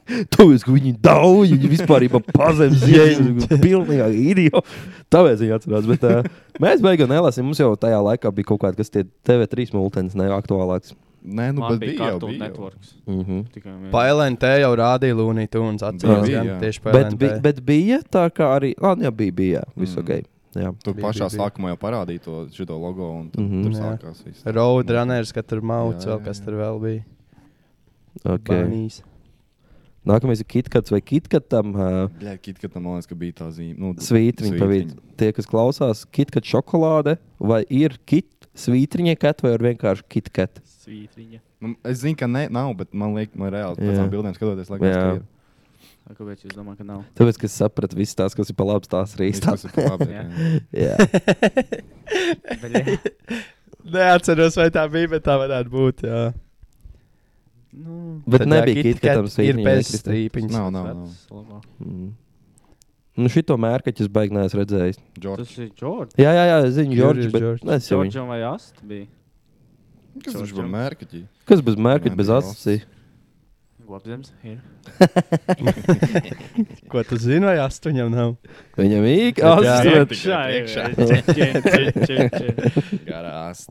Speaker 2: Tāpēc, ka viņi daudz, viņi vispār pazemīgi, pilnīgi idioti. Tāpēc viņi atcerās. Bet, uh, mēs beigās nelasījām, mums jau tajā laikā bija kaut kāda, kas tie TV3 multens, ne aktuālāks.
Speaker 4: Nē, nu,
Speaker 8: Man
Speaker 4: bet
Speaker 8: bija
Speaker 4: bija jau
Speaker 8: Cartoon
Speaker 4: bija jau.
Speaker 8: Networks.
Speaker 2: Mm -hmm.
Speaker 8: Tikai vien.
Speaker 1: Pailēn te jau rādīja Luniju Tunes. Atceros,
Speaker 4: Bija,
Speaker 1: jā,
Speaker 4: jā.
Speaker 1: tieši
Speaker 2: bet, bi,
Speaker 1: pēc tam.
Speaker 2: bet bija tā, kā arī. Ah, jā, bija, bija. jā, Viss
Speaker 4: Mm.
Speaker 2: ok. Jā.
Speaker 4: Tur
Speaker 1: Bija, bija,
Speaker 4: pašā
Speaker 1: bija.
Speaker 4: sākumā jau parādīja to šito logo, un tad,
Speaker 2: Mhm.
Speaker 4: mm, tur
Speaker 1: Jā.
Speaker 4: sākās viss. Nu,
Speaker 1: Road runners, kad tur mauts
Speaker 4: Jā,
Speaker 1: vēl,
Speaker 4: jā,
Speaker 1: kas
Speaker 4: jā.
Speaker 1: tur vēl bija.
Speaker 2: Okay.
Speaker 1: Banīs.
Speaker 2: Nākamais ir kitkats vai kitkatam. Uh,
Speaker 4: Jā, kitkat, man liekas, ka bija tā zīme. Nu,
Speaker 2: Svītriņa pa vidu. Tie, kas klausās, kitkat šokolāde vai ir kit svītriņa kat vai ir vienkārši kitkat?
Speaker 8: Svītriņa.
Speaker 4: Nu, es zinu, ka ne, nav, bet man liekas, man reāli
Speaker 2: Jā.
Speaker 4: pēc tam bildēm skatoties,
Speaker 2: Jā.
Speaker 4: liekas,
Speaker 8: A, Kāpēc jūs domājat, ka nav?
Speaker 2: Tāpēc, ka es sapratu, visas tās, kas ir pa labi, tās ir
Speaker 4: ka
Speaker 2: īstās.
Speaker 4: tas ir labi.
Speaker 8: Jā.
Speaker 4: jā.
Speaker 2: Jā.
Speaker 8: Bļē.
Speaker 1: Neatceros, vai tā bija, bet tā varētu būt. Jā.
Speaker 8: Nu,
Speaker 2: Bet
Speaker 1: Tad, jā,
Speaker 2: nebija
Speaker 1: Kit Kat
Speaker 2: kitkatam
Speaker 1: Ir
Speaker 2: svītriņa.
Speaker 1: bez
Speaker 2: nekristā.
Speaker 1: strīpiņas.
Speaker 4: Nav, nav, nav.
Speaker 8: tas labāk.
Speaker 2: Mm. Nu, šito mērķi es baigi neesmu redzējis.
Speaker 4: Džordž.
Speaker 8: Tas ir Džordžs.
Speaker 2: Jā, jā, jā, es zinu,
Speaker 1: Jurijs
Speaker 2: Jorģis. bet
Speaker 1: Džordžs.
Speaker 2: es jau viņu-
Speaker 8: Džordžam vai Ast bija?
Speaker 4: Kas viņš
Speaker 8: Džordžam.
Speaker 4: bija mērķi?
Speaker 2: Kas bez mērķa, bez
Speaker 4: Jā,
Speaker 2: asociācijas?
Speaker 8: Globzems ir.
Speaker 1: Ko tu zini, vai astoņam nav?
Speaker 2: Viņam īk,
Speaker 1: Jā.
Speaker 2: asociācijas.
Speaker 4: Garās.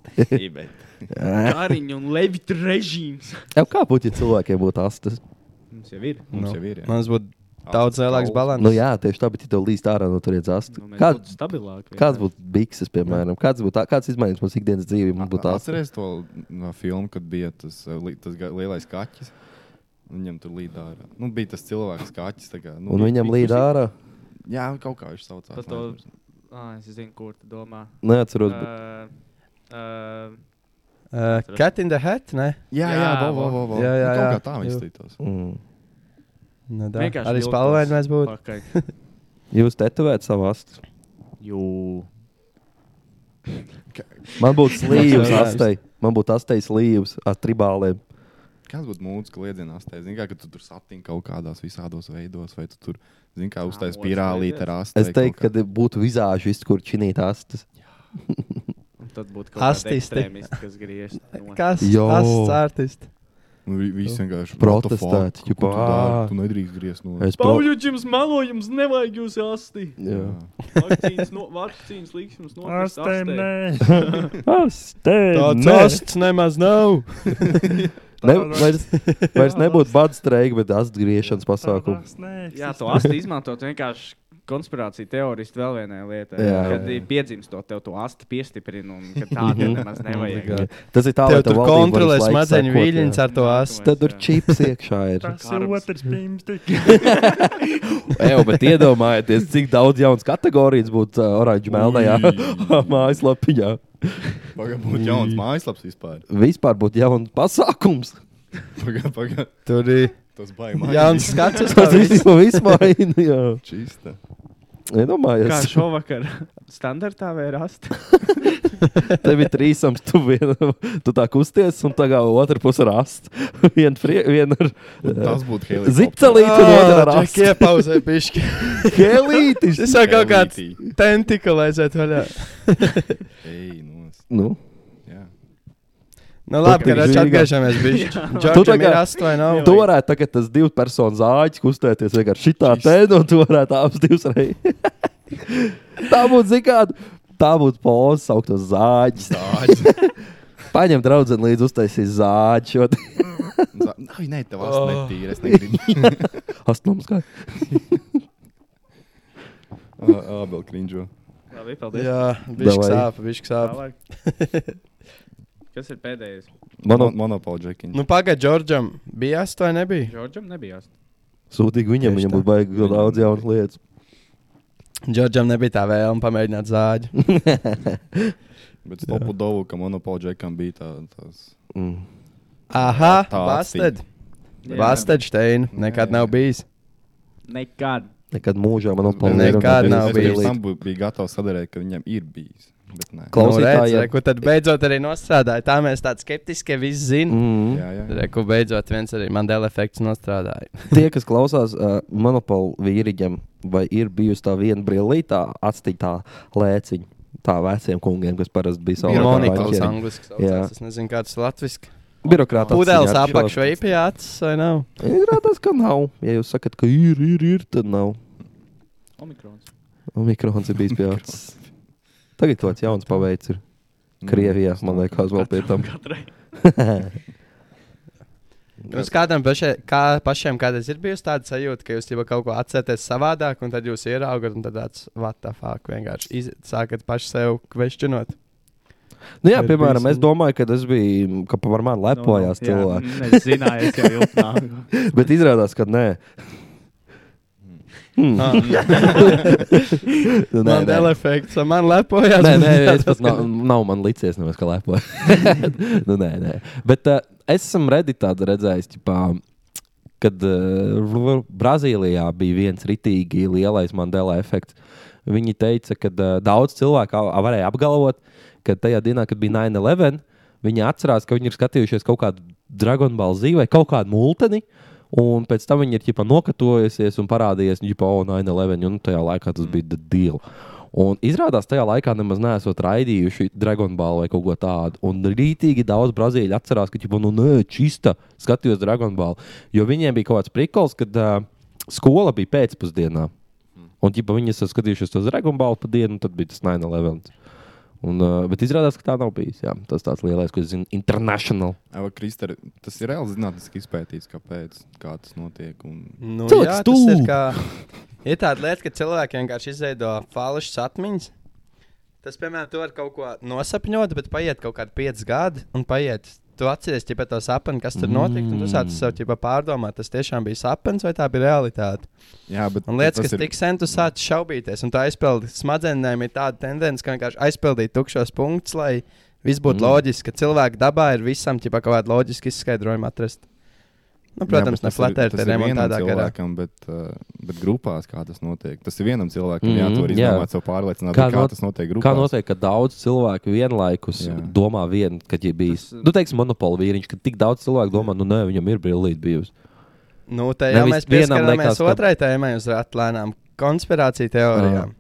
Speaker 8: Kariņš un Levita režīms.
Speaker 2: Tev kā būtu, ja cilvēkiem būtu astes?
Speaker 8: Mums jau ir.
Speaker 4: Mums
Speaker 1: Nu,
Speaker 4: jau ir. jā.
Speaker 1: Mums būtu daudz lielāks balans.
Speaker 2: Nu, jā, tieši tā, bet ja tev līst ārā no turienes astes.
Speaker 8: Nu, mēs
Speaker 2: Kād-
Speaker 8: būtu stabilāki.
Speaker 2: Kāds būtu bikses, piemēram? Kāds būtu tā- kāds izmaiņas mūsu ikdienas dzīvē? Mums būtu astes.
Speaker 4: Atceries to no filmu, kad bija tas, uh, li- tas ga- lielais kaķis. Viņam tur līd ārā. Nu, bija tas cilvēks kaķis. tā Kā, nu,
Speaker 2: Un
Speaker 4: bija-
Speaker 2: viņam
Speaker 4: bija-
Speaker 2: līd ārā.
Speaker 4: Jā, kaut kā viņš saucās.
Speaker 8: Par to-
Speaker 4: neatceros.
Speaker 8: Ah, es zinu, kur tu domā.
Speaker 2: Neatceros. bet-
Speaker 8: Uh, uh,
Speaker 1: Uh, Cat in the Hat? Ne?
Speaker 4: Jā,
Speaker 8: Jā,
Speaker 4: jā, vau, vau, vau, vau.
Speaker 1: Jā, jā,
Speaker 4: Nu, Kaut
Speaker 1: jā.
Speaker 4: kā tā viņš līdās.
Speaker 2: Mm.
Speaker 1: Nu, tā.
Speaker 8: Vienkārši
Speaker 1: Arī
Speaker 8: viltos
Speaker 1: spēlēni mēs būtu.
Speaker 8: pakaļ.
Speaker 2: Jūs tetovējat savu astes.
Speaker 8: Jū.
Speaker 2: Man būtu slīvs,
Speaker 1: Jā.
Speaker 2: astei. Man būtu astei slīvs ar tribāliem.
Speaker 4: Kāds būtu mūzika, ka liedzienās te zina, ka tu tur satiktu kaut kādās visādos veidos, vai tu tur, zini, kā uztais
Speaker 8: otrs
Speaker 4: pīrālīti
Speaker 8: veidies.
Speaker 4: ar astu.
Speaker 2: Es teiktu, ka būtu vizāžs, kur činīt astes.
Speaker 8: Un tad būtu kaut kāds
Speaker 1: Astisti.
Speaker 8: ekstrēmists, kas griež. no-
Speaker 1: Kas
Speaker 2: Jo.
Speaker 1: tas artists?
Speaker 4: nu, vi- viss vienkārši
Speaker 2: Protestēt,
Speaker 4: what the
Speaker 2: ķipa,
Speaker 4: fuck, ko tu dari?
Speaker 2: ā.
Speaker 4: Tu nedrīkst griezt no.
Speaker 2: Es pro-
Speaker 8: Pauļu jums melo, jums nevajag jūs asti.
Speaker 2: Jā.
Speaker 8: Vakcīnas, no, vakcīnas liks jums nokrist astē.
Speaker 2: Astei!
Speaker 1: Tāds
Speaker 2: nē.
Speaker 1: asts nemaz nav.
Speaker 2: Ne, vairs, vairs nebūtu bada streika, bet astgriešanas pasākums.
Speaker 8: Jā, to asti izmantot vienkārši konspirācija teoristi vēl vienai lietai.
Speaker 2: Jā.
Speaker 8: Kad ir piedzimst to, tev to asti piestiprina un ka tā
Speaker 2: Mhm.
Speaker 8: tev nemaz nevajag.
Speaker 2: Tas ir tā,
Speaker 1: Tev
Speaker 2: lai
Speaker 1: tur
Speaker 2: valdība varētu
Speaker 1: kontrolē
Speaker 2: laiku
Speaker 1: smadzeņu
Speaker 2: sekot,
Speaker 1: viļņus
Speaker 2: jā.
Speaker 1: ar to astu.
Speaker 2: Tad tur čips iekšā ir.
Speaker 8: otrs.
Speaker 2: Ej, bet iedomājieties, cik daudz jaunas kategorijas būtu uh, oranžu melnajā
Speaker 4: Ui.
Speaker 2: mājaslapiņā.
Speaker 4: Pagaidām, būtu jauns mājaslaps vispār.
Speaker 2: Vispār būtu jauns pasākums.
Speaker 4: Pagaidām, pagaidām.
Speaker 1: Tur ir
Speaker 4: Tas baigās.
Speaker 1: jauns skats uz to
Speaker 2: Tas
Speaker 1: visu.
Speaker 2: viss jau izmaina.
Speaker 4: Čista.
Speaker 8: Kā
Speaker 2: Iedomājieties,
Speaker 8: šovakar standartā vai rasta?
Speaker 2: tev ir trīsams, tu, vien, tu tā kusties, un tā kā otrā pusē rast. Vienu vien ar
Speaker 4: Tas būtu Helēns.
Speaker 2: zipcelīti, un otrā ar
Speaker 1: Čak,
Speaker 2: rast.
Speaker 1: iepauzē pišķi.
Speaker 2: Helītis!
Speaker 1: Tas jau kaut kāds tentikls aiziet vaļā.
Speaker 4: Ej, nos.
Speaker 2: Nu,
Speaker 4: Jā.
Speaker 1: Nu labi, ka
Speaker 2: Patīk
Speaker 1: redz
Speaker 2: žīga.
Speaker 1: atgriežamies bišķi.
Speaker 2: Tu
Speaker 1: Džordžam
Speaker 2: tagad-
Speaker 1: ir asts vai nav?
Speaker 2: tu varētu tagad tas divu personu zāģis kustēties vienkārši šitā tēnā, un tu varētu abas divas reizes. tā būtu zikāda. Tā būtu poza, saukt uz zāģis.
Speaker 4: Zāģis.
Speaker 2: Paņem draugu līdzi uztaisīt zāģi.
Speaker 4: Zā- Ai, nē, tev asti netīra. Es negribu.
Speaker 2: Astnoms kā.
Speaker 4: Ā, Ah, vēl krīņģo.
Speaker 8: Labi, paldies.
Speaker 1: Jā, bišķi
Speaker 2: Davai.
Speaker 1: sāp, bišķi sāp.
Speaker 8: Tālāk. Kas ir pēdējais?
Speaker 2: Manā
Speaker 4: Monopola džekiņa.
Speaker 1: Nu pagaid, Džordžam bija asts vai nebija?
Speaker 8: Džordžam nebija asti.
Speaker 2: sūtīgi viņam,
Speaker 1: Tieši
Speaker 2: viņam
Speaker 1: tā.
Speaker 2: būtu baigi daudz jaunas lietas.
Speaker 1: Džordžam nebija tā vēlme pamēģināt zāģi.
Speaker 4: Bet stopu dovu, ka monopola džekam bija tā- tās.
Speaker 2: Mm.
Speaker 1: Aha,
Speaker 4: Tā
Speaker 1: Bastard.
Speaker 8: Jā.
Speaker 1: Bastard Stein. Nekad
Speaker 4: Jā,
Speaker 1: nav
Speaker 4: jā.
Speaker 1: bijis.
Speaker 8: Nekad.
Speaker 2: Nekad mūžā man
Speaker 1: Nekad
Speaker 2: apgādāja,
Speaker 1: nav
Speaker 4: es
Speaker 1: bijis.
Speaker 4: pirms tam bū- biju gatavs sadarīt, ka viņam ir bijis. Bet nē.
Speaker 2: Klau-
Speaker 1: Nu, redz,
Speaker 2: Klausītājiem.
Speaker 1: reku, tad beidzot arī nostrādāja. Tā mēs tādi skeptiski visi zinām.
Speaker 2: Mm.
Speaker 4: Jā, jā. jā.
Speaker 1: Reku beidzot viens arī Mandela efekts nostrādāja.
Speaker 2: Tie, kas klausās uh, monopolu vīriņam, vai ir bijusi tā viena brīvība, atstīta lēciņa, tā veciem kungiem, kas parasti bija savā
Speaker 4: Bija
Speaker 1: Monika
Speaker 4: Monika
Speaker 1: uz
Speaker 4: Banķieri.
Speaker 1: angliski
Speaker 2: Jā.
Speaker 1: saucās. Es nezinu, kāds latviski.
Speaker 2: Birokrātā.
Speaker 1: Pudeles apakšā veipijā acis vai nav?
Speaker 2: Izrādās, ka nav. Ja jūs sakat, ka ir, ir, ir, tad nav.
Speaker 8: Omikrons.
Speaker 2: Mikrofons ir bijis pieejams. Tagad kaut kāds jauns paveids ir
Speaker 4: Nu,
Speaker 8: Nu,
Speaker 2: Krievijā, man liekas, vēl pie tam.
Speaker 8: Katrai.
Speaker 1: Jums kādam pašai, kā, pašiem kādreiz ir bijusi tāda sajūta, ka jūs jau kaut ko atceraties savādāk, un tad jūs ieraugat, un tad tāds vatafāk vienkārši iz, sākat paši sev kvešķinot.
Speaker 2: Nu, jā,
Speaker 1: Ir
Speaker 2: piemēram, es
Speaker 1: bijis un-
Speaker 2: domāju, ka tas bija, ka par
Speaker 8: Nu,
Speaker 2: mani lepojās cilvēki.
Speaker 8: Es zināju, es jau ilgi nāku.
Speaker 2: Bet izrādās, ka nē.
Speaker 8: nu.
Speaker 2: Hmm.
Speaker 1: Ah.
Speaker 2: Nu,
Speaker 1: Man ir efekts, un man lepojas.
Speaker 2: Nē, nē, es pat nav, nav man licies, nemaz kā lepoju. nu, nē, nē. Bet uh, es esmu Redditā redzējis, ķipā, kad uh, Brazīlijā bija viens ritīgi lielais Mandela efekts. Viņi teica, ka uh, daudz cilvēku a- varēja apgalvot, ka tajā dienā, kad bija 9-11, viņi atcerās, ka viņi ir skatījušies kaut kādu Dragon Ball Z vai kaut kādu multeni. Un pēc tam viņi ir ģipa, nokatojusies un parādījies, nu, jau tādā 9-11, un tajā laikā tas bija the deal. Un izrādās, tajā laikā nemaz neesot raidījuši Dragon Ball vai kaut ko tādu. Un rītīgi daudz brazīļu atcerās, ka, ģipa, nu, nē, čista skatījos Dragon Ball. Jo viņiem bija kaut kāds prikols, kad uh, skola bija pēcpusdienā. Un, ja viņi ir skatījušies uz Dragon Ball pa dienu, tad bija tas 9-11. Un, uh, bet izrādās, ka tā nav bijusi. Jā, tas tāds lielais, ko es zinu, international.
Speaker 4: Kristēra, tas ir reāli zinātniski izpētīts, kāpēc kā tas notiek. Un...
Speaker 1: Nu,
Speaker 2: Cilvēks
Speaker 1: jā, tas ir,
Speaker 2: stulbi.
Speaker 1: kā, ir tāda lieta, ka cilvēki vienkārši izveido falšas atmiņas. Tas, piemēram, tu vari kaut ko nosapņot, bet paiet kaut kādi pieci gadi un paiet. Tu atceries jau to sapni, kas tur notika, un tu sāc sev ķipa, pārdomāt, tas tiešām bija sapnis vai tā bija realitāte.
Speaker 4: Jā, bet
Speaker 1: Un lietas,
Speaker 4: tas
Speaker 1: kas
Speaker 4: ir-
Speaker 1: ir... tik sen tu sāc šaubīties, un tā aizpildi smadzenēm ir tāda tendence, ka vienkārši aizpildīt tukšos punktus, lai viss
Speaker 2: Mm.
Speaker 1: būtu mm. loģiski, ka cilvēka dabā ir visam ķipa, kaut kāda loģiska izskaidrojuma atrast. Nu, protams,
Speaker 4: bet
Speaker 1: ne
Speaker 4: tas ir-
Speaker 1: flatēra,
Speaker 4: tas
Speaker 1: tad
Speaker 4: ir
Speaker 1: remontā
Speaker 4: vienam
Speaker 1: tādā garā.
Speaker 4: cilvēkam, bet, uh, bet grupās kā tas notiek. Tas ir vienam cilvēkam,
Speaker 2: Mhm,
Speaker 4: mm, jā, to arī
Speaker 2: jā.
Speaker 4: izdomāt, sev pārliecināt,
Speaker 2: Kā
Speaker 4: kā, kā
Speaker 2: not-
Speaker 4: not, tas notiek grupā.
Speaker 2: Kā notiek, ka daudz cilvēku vienlaikus jā.
Speaker 4: Nu, Jā.
Speaker 2: domā vienu, kad ir bijis.
Speaker 8: Tas, uh,
Speaker 2: Nu, teiksim, monopola vīriņš, ka tik daudz cilvēku domā, nu, nē, viņam ir brīvība bijusi.
Speaker 1: Nu, tā jau
Speaker 2: Nevis
Speaker 1: mēs
Speaker 2: vienam
Speaker 1: pieskaramies
Speaker 2: liekas, ka-
Speaker 1: otrai tēmai uz atlēnām konspirāciju teorijām.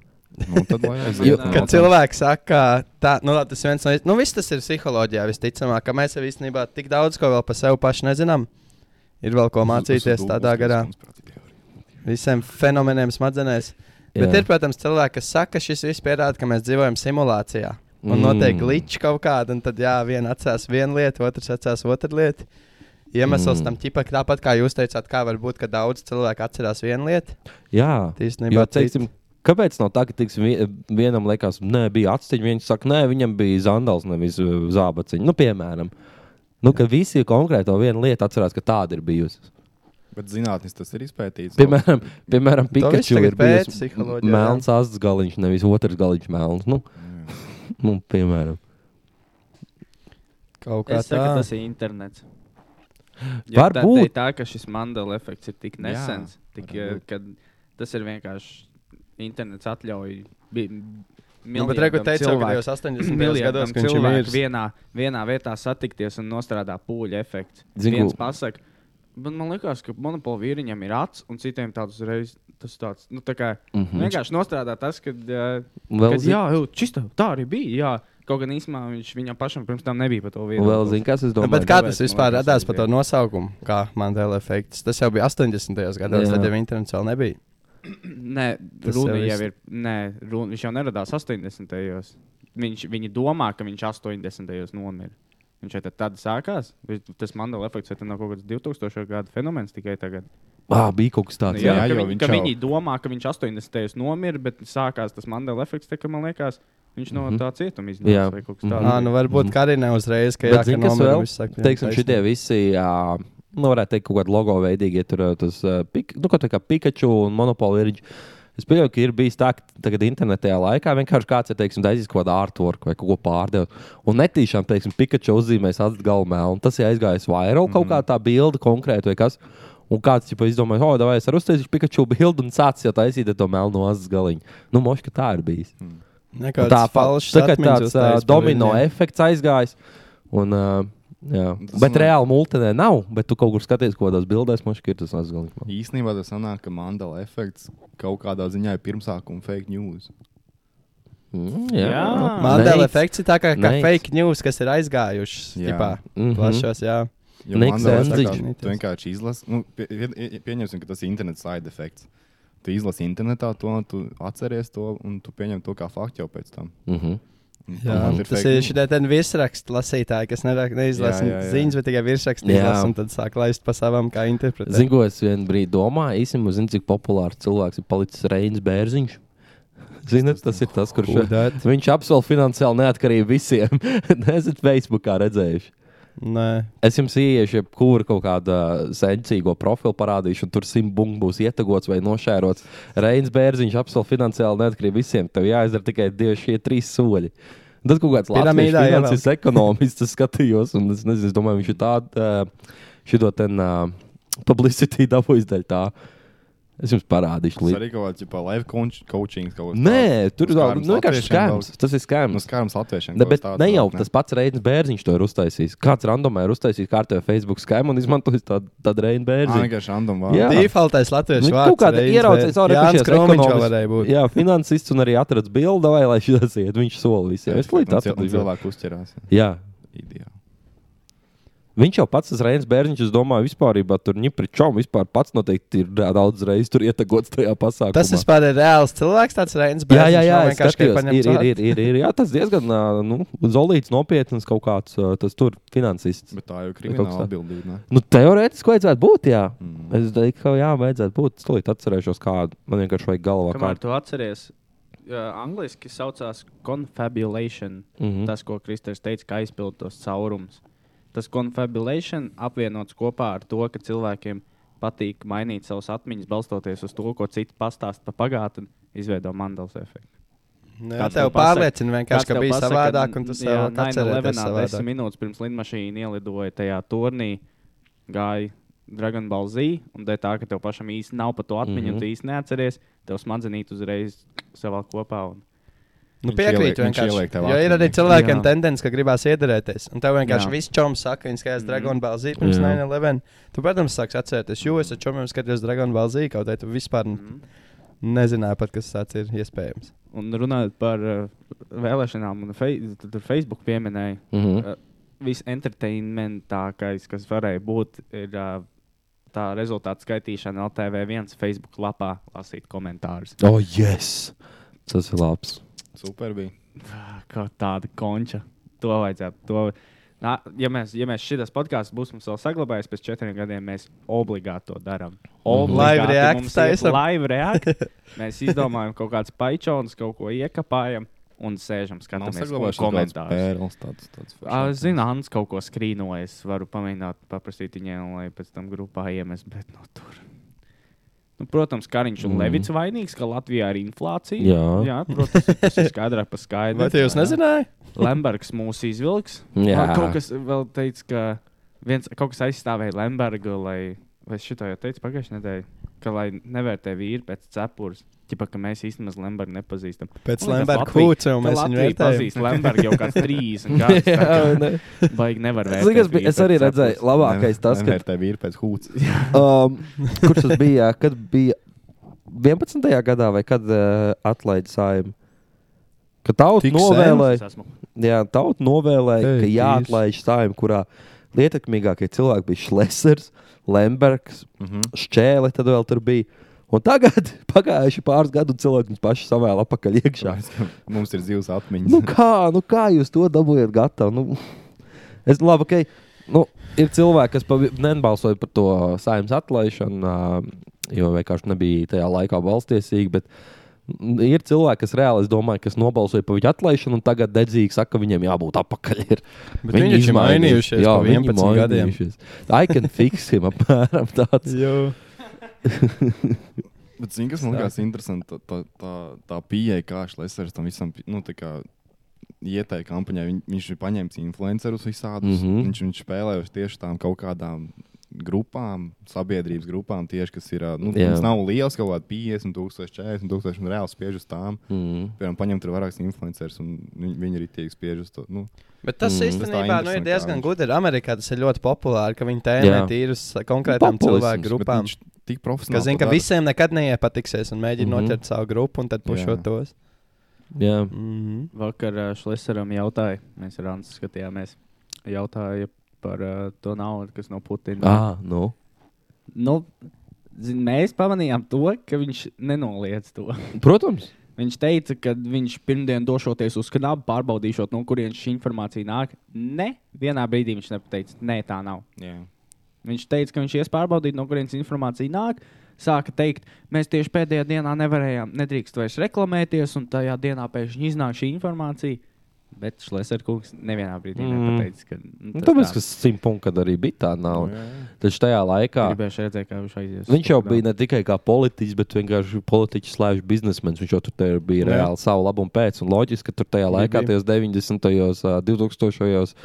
Speaker 4: Nu, tad, lai aiziet
Speaker 2: Jo-
Speaker 4: no
Speaker 1: Kad
Speaker 4: tā.
Speaker 1: cilvēks saka, ka tā, nu, labi, tas viens no iz- nu, viss tas ir psiholoģijā visticamāk, ka mēs jau īstenībā tik daudz ko vēl par sevi paši nezinām. Ir vēl ko mācīties tādā garā, visiem fenomeniem smadzenēs. Bet ir, protams, cilvēki, kas saka, ka šis viss pierāda, ka mēs dzīvojam simulācijā. Un mm. notiek glitch kaut kāda, un tad jā, viena atcerās vienu lietu, otrs atcerās otru lietu.
Speaker 2: Mm.
Speaker 1: Iemesls mm. tam tipam, tāpat kā jūs teicāt, kā var būt, ka daudz cilvēku atcerās vienu lietu.
Speaker 2: Jā,
Speaker 1: Tīsnībā,
Speaker 2: Jo, teiksim, kāpēc nav tā, ka teiksim, vie- vienam liekas, nē, bija atsevišķi, viens saka, nē, viņam bija zandals, nevis uh, zābaciņa. Nu, piemēram, nu, ka visi konkrēto vienu lietu atcerās, ka tāda ir bijusi.
Speaker 4: Bet zinātnīs tas ir izpētīts.
Speaker 2: Piemēram, piemēram
Speaker 1: viss
Speaker 2: Pikachu
Speaker 1: tagad
Speaker 2: ir bijis
Speaker 1: pēc psiholoģijā, jā.
Speaker 2: melns astes galiņš, nevis otrs galiņš melns. Nu, nu, piemēram.
Speaker 1: kaut kā
Speaker 8: Es saku,
Speaker 1: tāda.
Speaker 8: tas ir internets. Jo tā-
Speaker 2: Varbūt.
Speaker 8: Tā, tā, ka šis mandala efekts ir tik nesens, tik, eh,
Speaker 4: varbūt.
Speaker 8: ka tas ir vienkārši internets atļauj.
Speaker 1: Nu,
Speaker 8: Nu,
Speaker 1: bet reku teicu, ka jau 80 gados
Speaker 8: Miljoniem
Speaker 1: ka viņš ir
Speaker 8: cilvēku
Speaker 1: miris.
Speaker 8: vienā, vienā vietā satikties un nostrādā pūļa efekts.
Speaker 2: Zini,
Speaker 8: Viens
Speaker 2: ko-
Speaker 8: pasaka, bet man liekas, ka monopola vīriņam ir acis, un citiem tāds uzreiz tas tāds nu, tā kā,
Speaker 2: Mm
Speaker 1: Mhm.
Speaker 8: mm. vienkārši nostrādā tas, ka, uh,
Speaker 2: Vēl,
Speaker 8: kad jā, jau, čista, tā arī bija. Jā. Kaut gan īstenībā viņš viņam pašam pirms tam nebija par to
Speaker 2: zin, vēl zini,
Speaker 8: vienu.
Speaker 2: kas es
Speaker 1: Nu, bet
Speaker 2: domāju.
Speaker 1: kā
Speaker 8: kāpēc
Speaker 1: tas
Speaker 8: man
Speaker 1: vispār
Speaker 8: liekas,
Speaker 1: radās
Speaker 8: ka
Speaker 1: par to
Speaker 8: jā.
Speaker 1: nosaukumu, kā Mandela efekts? Tas jau bija 80. gados,
Speaker 2: Jā.
Speaker 1: tad jau internets vēl nebija.
Speaker 8: Nē,
Speaker 1: Tas
Speaker 8: runa
Speaker 1: jau
Speaker 8: jau
Speaker 1: viss-
Speaker 8: ir. Nē, runa, viņš jau neradās 80. gados. Viņš, viņi domā, ka viņš 80. gados nomira. Viņš jau tad, tad sākās. Bet Tas mandala efekts jau tam nav kaut kāds 2000. gada fenomens tikai tagad.
Speaker 2: Ah, bija kaut kas
Speaker 8: Nu,
Speaker 2: tāds.
Speaker 8: jā,
Speaker 4: jā,
Speaker 8: jā, ka
Speaker 4: jo
Speaker 8: viņi,
Speaker 4: viņš
Speaker 8: ka
Speaker 4: jau-
Speaker 8: viņi domā, ka viņš 80. gados nomira, bet sākās tas mandala efekts, tā, ka man liekas, viņš no
Speaker 2: Mhm.
Speaker 8: tā cietuma
Speaker 2: Jā.
Speaker 8: iznāca vai kaut kas
Speaker 2: Mhm.
Speaker 8: tāds.
Speaker 1: Ā, nu varbūt
Speaker 2: Mhm.
Speaker 1: kā arī ne uzreiz, ka
Speaker 2: Bet
Speaker 1: jā,
Speaker 2: zini,
Speaker 1: ka
Speaker 2: kas
Speaker 1: nomira
Speaker 2: vēl?
Speaker 1: viss saka, jā,
Speaker 2: Teiksim,
Speaker 1: taisnība.
Speaker 2: šitie visi, jā, nu, varētu teikt, kaut kāda logo veidīgie, tur ā, tas ā, pik, nu, kaut kā Pikachu un Monopoly ir. Es pieļauju, ka ir bijis tā, ka tagad internetā laikā vienkārši kāds ir teiksim, taisījis kaut kādu artworku vai kaut ko pārdevis. Un netīšām, teiksim, Pikachu uzzīmēs atgalmē, un tas ir aizgājis vairāk kaut
Speaker 1: Mhm.
Speaker 2: kā tā bilde konkrēti vai kas. Un kāds jau izdomāja, oh, vai es varu uztaisīt Pikachu bildi un sācis jau taisīt ar to melno astes galiņu. Nu, moška tā ir bijis.
Speaker 1: Nekāds
Speaker 2: tā
Speaker 1: falšs
Speaker 2: tā kā
Speaker 1: atmiņas
Speaker 2: tāds uh,
Speaker 1: uztaisīt par
Speaker 2: domino
Speaker 1: viņiem.
Speaker 2: efekts aizgājis. Un, uh, jā.
Speaker 4: Tas
Speaker 2: Bet
Speaker 4: man-
Speaker 2: reāli multinē nav, bet tu kaut kur skaties, ko tās bildēs man šķiet, tas nesgalīgi.
Speaker 4: Īsnībā tas sanāk, ka mandala efekts kaut kādā ziņā ir pirmsākuma fake news.
Speaker 2: Mm,
Speaker 8: Jā.
Speaker 1: Mandela
Speaker 2: Neic.
Speaker 1: efekts ir tā kā, kā
Speaker 2: Neic.
Speaker 1: fake news, kas ir aizgājušas.
Speaker 4: Jā.
Speaker 1: Jā,
Speaker 2: Mhm.
Speaker 1: plašos, jā.
Speaker 2: Niks
Speaker 4: Jo man liekas, tā
Speaker 2: Enziņš.
Speaker 4: kā Tu vienkārši izlasi, nu, pie, pie- pieņemsim, ka tas ir interneta side effects. Tu izlasi internetā to, un tu atceries to, un tu pieņem to kā faktu jau pēc tam.
Speaker 2: Mhm.
Speaker 4: Un
Speaker 1: Jā,
Speaker 4: tomēr
Speaker 1: tas
Speaker 4: fake
Speaker 1: ir
Speaker 4: news.
Speaker 1: šī tāda virsrakstu lasītāja, kas nerak- neizlasa
Speaker 4: Jā, jā, jā.
Speaker 1: ziņas, bet tikai virsrakstu
Speaker 2: Jā.
Speaker 1: izlasa un tad sāk laist pa savām, kā interpretēt.
Speaker 2: Zinu, ko es vienu brīdi domāju. Īstenībā, zinu, cik populārs cilvēks ir palicis Reinas Bērziņš. Ziniet, tas ir tas, kurš
Speaker 1: Who dat?
Speaker 2: viņš apsolīja finansiāli neatkarību visiem. Nezinu, Facebookā redzējuši.
Speaker 1: Nē,
Speaker 2: Es jums ieiešu, ja kura kaut kāda senčīgo profilu parādīšu, un tur simbuļs būs ietegots vai nošērots. Reinas Bērziņš apsolīja finansiāli neatkarību visiem. Tev jāizdara tikai divi šie trīs soļi. Tad kaut kāds Latvijas
Speaker 1: Piramīdā ievelk.
Speaker 2: finanses ekonomists tas skatījos, un es nezinu, es domāju, viņš ir tādu šito ten uh, publicity dabūjis daļā tā. Es jums parādīšu
Speaker 4: Tas
Speaker 2: līdzi.
Speaker 4: arī kaut kāds kā live coach- coaching kaut kas
Speaker 2: Nē, tur jau
Speaker 4: Skārums
Speaker 2: nu, vienkārši
Speaker 4: latviešiem
Speaker 2: skāms. Tas ir skāms.
Speaker 4: Nu, skārums latviešiem.
Speaker 2: Ne,
Speaker 4: kaut
Speaker 2: bet
Speaker 4: kas tāds
Speaker 2: ne jau
Speaker 4: vēl,
Speaker 2: tas pats Reinas Bērziņš to ir uztaisījis. Kāds randomā ir uztaisījis kārtējo Facebook skaimu un izmantojis tādu tā Reina
Speaker 4: Ā,
Speaker 2: Bērziņu.
Speaker 4: vienkārši random vārds.
Speaker 2: Jā.
Speaker 1: defaultais latviešu
Speaker 2: Nu,
Speaker 1: vārds.
Speaker 2: kaut kāda
Speaker 1: reizē.
Speaker 2: ieraudzījis, jau
Speaker 1: Jānis Kromiņš vēl varēja
Speaker 2: ekonomists.
Speaker 1: būt.
Speaker 2: Jā, finansists un arī atradas bildi, vai lai šī tas iet. Viņš soli visiem. Es līdz
Speaker 4: tam
Speaker 2: atradu. Jā.
Speaker 4: cilvēku uzķerās.
Speaker 2: jā.
Speaker 4: Ideāli.
Speaker 2: Viņš jau pats, tas Reinas Bērziņš, es domāju, vispār tur ņipričom, vispār pats noteikti ir dā- daudz reizes tur ietegots tajā pasākumā.
Speaker 1: Tas vispār ir reāls cilvēks, tāds Reinas
Speaker 2: Jā,
Speaker 1: Bērziņš,
Speaker 2: jā, jā,
Speaker 1: nav
Speaker 2: es
Speaker 1: vienkārši
Speaker 2: skatījos,
Speaker 1: kā paņemts
Speaker 2: ir, ir,
Speaker 1: vārds.
Speaker 2: ir, ir, ir, jā, tas diezgan ā, nu, zolīts, nopietns kaut kāds ā, tas tur finansists.
Speaker 4: Bet tā jau ir
Speaker 2: kaut
Speaker 4: krimināla
Speaker 2: kas tā.
Speaker 4: atbildība. ne?
Speaker 2: Nu, teorētiski vajadzētu būt, jā.
Speaker 4: Mm.
Speaker 2: Es domāju, ka jā, vajadzētu būt. Es tikai atcerēšos, kādu man vienkārši vajag galvā.
Speaker 8: Kamēr
Speaker 2: Kādu.
Speaker 8: tu atceries, uh, angliski saucās confabulation.
Speaker 2: Mhm.
Speaker 8: Mm. Tas, ko Kristers teica, ka aizpild tos caurumus. Tas confabulation apvienots kopā ar to, ka cilvēkiem patīk mainīt savas atmiņas, balstoties uz to, ko citi pastāsta par pagātni, izveido mandalas efektu.
Speaker 1: Nu, jā,
Speaker 8: Kāds
Speaker 1: tev
Speaker 8: tev pasaka-
Speaker 1: pārliecina vienkārši, ka bija savādāk, un tu sev atceries
Speaker 8: Desmit
Speaker 1: savādāk.
Speaker 8: minūtes pirms lidmašīna ielidoja tajā turnī, gāja Dragon Ball Z, un dēļ tā, ka tev pašam īsti nav par to atmiņu, mm
Speaker 2: Mhm.
Speaker 8: -hmm. tu īsti neatceries, tev smadzenīt uzreiz savā kopā. Un...
Speaker 1: Nu,
Speaker 4: Viņš ieliek-
Speaker 1: piekrītu
Speaker 4: viņš
Speaker 1: vienkārši.
Speaker 4: ieliek tev
Speaker 1: Jo ir arī
Speaker 4: atmiņā.
Speaker 1: cilvēkiem
Speaker 8: Jā.
Speaker 1: tendence, ka gribās iedarēties. Un tev vienkārši
Speaker 8: Jā.
Speaker 1: viss čoms saka, ka viņš
Speaker 4: Mm.
Speaker 1: skatās Dragon Ball Z pirms
Speaker 2: Jā.
Speaker 1: 9-11. Tu, protams, sāks atcerēties, jo es ar čomiem skatos Dragon Ball Z kaut kā tu vispār ne-
Speaker 8: Mm -hmm.
Speaker 1: nezināji pat, kas tāds ir iespējams.
Speaker 8: Un runājot par uh, vēlēšanām, un fei tad tur Facebook pieminēja,
Speaker 2: Mhm.
Speaker 8: Uh, visentertainmentākais, kas varēja būt, ir uh, tā rezultātu skaitīšana LTV1 Facebook lapā, lasīt komentārus.
Speaker 2: O, oh, yes! Tas ir labs.
Speaker 4: Super bija.
Speaker 8: Kā Ah, tāda konča. To vajadzētu. To... Nā, ja mēs, ja mēs šīs podkāstus būsim vēl saglabājuši pēc četriem gadiem, mēs obligāti to darām.
Speaker 1: Live react taisam.
Speaker 8: Live react. Mēs izdomājam kaut kādas paičonas, kaut ko iekapājam un sēžam,
Speaker 4: Nav
Speaker 8: skatāmies un
Speaker 4: saglabājušās tādas
Speaker 8: komentārus.
Speaker 4: pērles, tādas tādas
Speaker 8: Ā,
Speaker 4: foršas.
Speaker 8: Es zinu, Anna kaut ko skrīnoja. Es varu pamēģināt, paprasīt viņai, lai pēc tam grupā iemest, bet no tur. Nu, protams, Kariņš
Speaker 2: Mm.
Speaker 8: un mm. Levits vainīgs, ka Latvijā ir inflācija.
Speaker 2: Jā.
Speaker 8: jā protams, tas ir skaidrāk par skaidru.
Speaker 4: nu,
Speaker 1: Vai tu jūs nezināji?
Speaker 8: Lembergs mūs izvilks.
Speaker 2: Jā.
Speaker 8: Ā, Kaut kas vēl teica, ka viens kaut kas aizstāvēja Lembergu, lai, vai šito jau teicu pagājušajā nedēļā, ka lai nevērtē vīri pēc cepures. Ķipa, ka mēs īstenībā Lembergu nepazīstam.
Speaker 4: Nu,
Speaker 1: Pēc
Speaker 8: Man liekas,
Speaker 1: Lemberga
Speaker 8: Latvija-
Speaker 1: kūts jau
Speaker 8: ka
Speaker 1: mēs viņu
Speaker 8: Latvija
Speaker 1: vērtējam.
Speaker 8: pazīst Lembergu jau kāds 30 gadus. tā kā-
Speaker 2: ne.
Speaker 8: Baigi nevar
Speaker 2: Es zinu, kas bija- es arī redzēju, labākais tas, ka.
Speaker 4: Nevērtē vīri pēc hūts.
Speaker 2: Um, kurš tas bija? Kad bija 11. gadā vai kad uh, atlaida saimnieks? Ka tauta
Speaker 1: Tik
Speaker 2: novēlēja,
Speaker 8: esmu.
Speaker 2: jā, tauta novēlēja
Speaker 1: Ei,
Speaker 2: ka
Speaker 1: tīs.
Speaker 2: jāatlaiž saimnieks, kurā ietekmīgākie cilvēki bija Šlesers, Lembergs, šķēle tad vēl tur bija. Un tagad, pagājuši pāris gadu, cilvēki viņus paši savēl apakaļ iekšā.
Speaker 4: Mums ir zivs atmiņas.
Speaker 2: Nu kā, nu kā jūs to dabūjāt gatavu? Nu, es labi, ka nu, ir cilvēki, kas pavi- nebalsoja par to saimnes atlaišanu, ā, jo vienkārši nebija tajā laikā balstiesīgi. Bet... mm, Ir cilvēki, kas reāli, es domāju, kas nobalsoja par viņu atlaišanu, un tagad dedzīgi saka, ka viņiem jābūt apakaļ. Ir.
Speaker 1: Bet viņi taču mainījušies
Speaker 2: jā,
Speaker 1: pa 11 gadiem.
Speaker 2: I can fix him apmēram tāds.
Speaker 1: Jā.
Speaker 4: Bet zini, kas man liekas interesanti, tā, tā, tā, tā pieeja, kā Šlesers tam visam pi- nu, tā kā ieteikta kampaņai. Viņ, viņš ir paņēmis influencerus visādus. Mm
Speaker 2: Mhm.
Speaker 4: -hmm. viņš, viņš spēlē uz tieši tām kaut kādām grupām, sabiedrības grupām, tieši, kas ir. ā, Nu,
Speaker 2: Jā.
Speaker 4: viņas nav liels, kaut kāda 50, 000, 40, 000 un reāli spiež uz tām.
Speaker 2: Mm.
Speaker 4: Piemēram, paņemt tur vairākus influencerus un viņi, viņi arī tiek spiež uz to. Nu,
Speaker 1: Bet tas
Speaker 2: Mm.
Speaker 1: mm,
Speaker 4: Tas tā
Speaker 1: īstenībā nu, ir
Speaker 4: interesanti,
Speaker 1: diezgan
Speaker 4: kā viņš-
Speaker 1: gudri. Amerikā tas ir ļoti populāri, ka viņi tērē
Speaker 2: Jā.
Speaker 1: tīrus konkrētām
Speaker 2: Populisms,
Speaker 1: cilvēku
Speaker 4: bet
Speaker 1: grupām.
Speaker 4: viņš Tik profesionāli.
Speaker 1: Ka zina,
Speaker 4: to
Speaker 1: ka
Speaker 4: dara.
Speaker 1: visiem nekad neiepatiksies un mēģina
Speaker 2: Mhm.
Speaker 1: mm -hmm. noķert savu grupu un tad pušot
Speaker 4: Jā.
Speaker 1: tos.
Speaker 2: Jā,
Speaker 1: Mm
Speaker 8: Vakar ā, Šlesaram jautāja, mēs ar Antu skatījāmies, jautāja par ā, to naudu, kas no Putina.
Speaker 2: ah, nu.
Speaker 8: Nu, zin, mēs pamanījām to, ka viņš nenoliedz to.
Speaker 2: Protams.
Speaker 8: Viņš teica, ka viņš pirmdien došoties uz kanalu, pārbaudīšot, no kurienes šī informācija nāk. Nē, vienā brīdī viņš nepateica, nē, tā nav.
Speaker 4: Jā.
Speaker 8: Viņš teica, ka viņš ies pārbaudīt, no kurienes informācija nāk. Sāka teikt, mēs tieši pēdējā dienā nevarējām, nedrīkst vairs reklamēties, un tajā dienā pēkšņi iznāk šī informācija. Bet Šlēsarkungs nevienā brīdī mm.
Speaker 2: Mm.
Speaker 8: nepateica, ka nu,
Speaker 2: Nu, tāpēc, ka simtpunkts, kad arī bija tā nauda.
Speaker 1: Mm.
Speaker 2: Taču tajā laikā
Speaker 8: gribēju redzēt, kā viņš aizies.
Speaker 2: viņš jau bija ne tikai kā politiķis, bet vienkārši politiķis slēdz biznesmenis. Viņš jau tur tajā bija
Speaker 4: Jā.
Speaker 2: reāli savu labumu pēc. Un loģiski, ka tur tajā laikā,
Speaker 4: bija.
Speaker 2: tajos 90. un 2000. gados,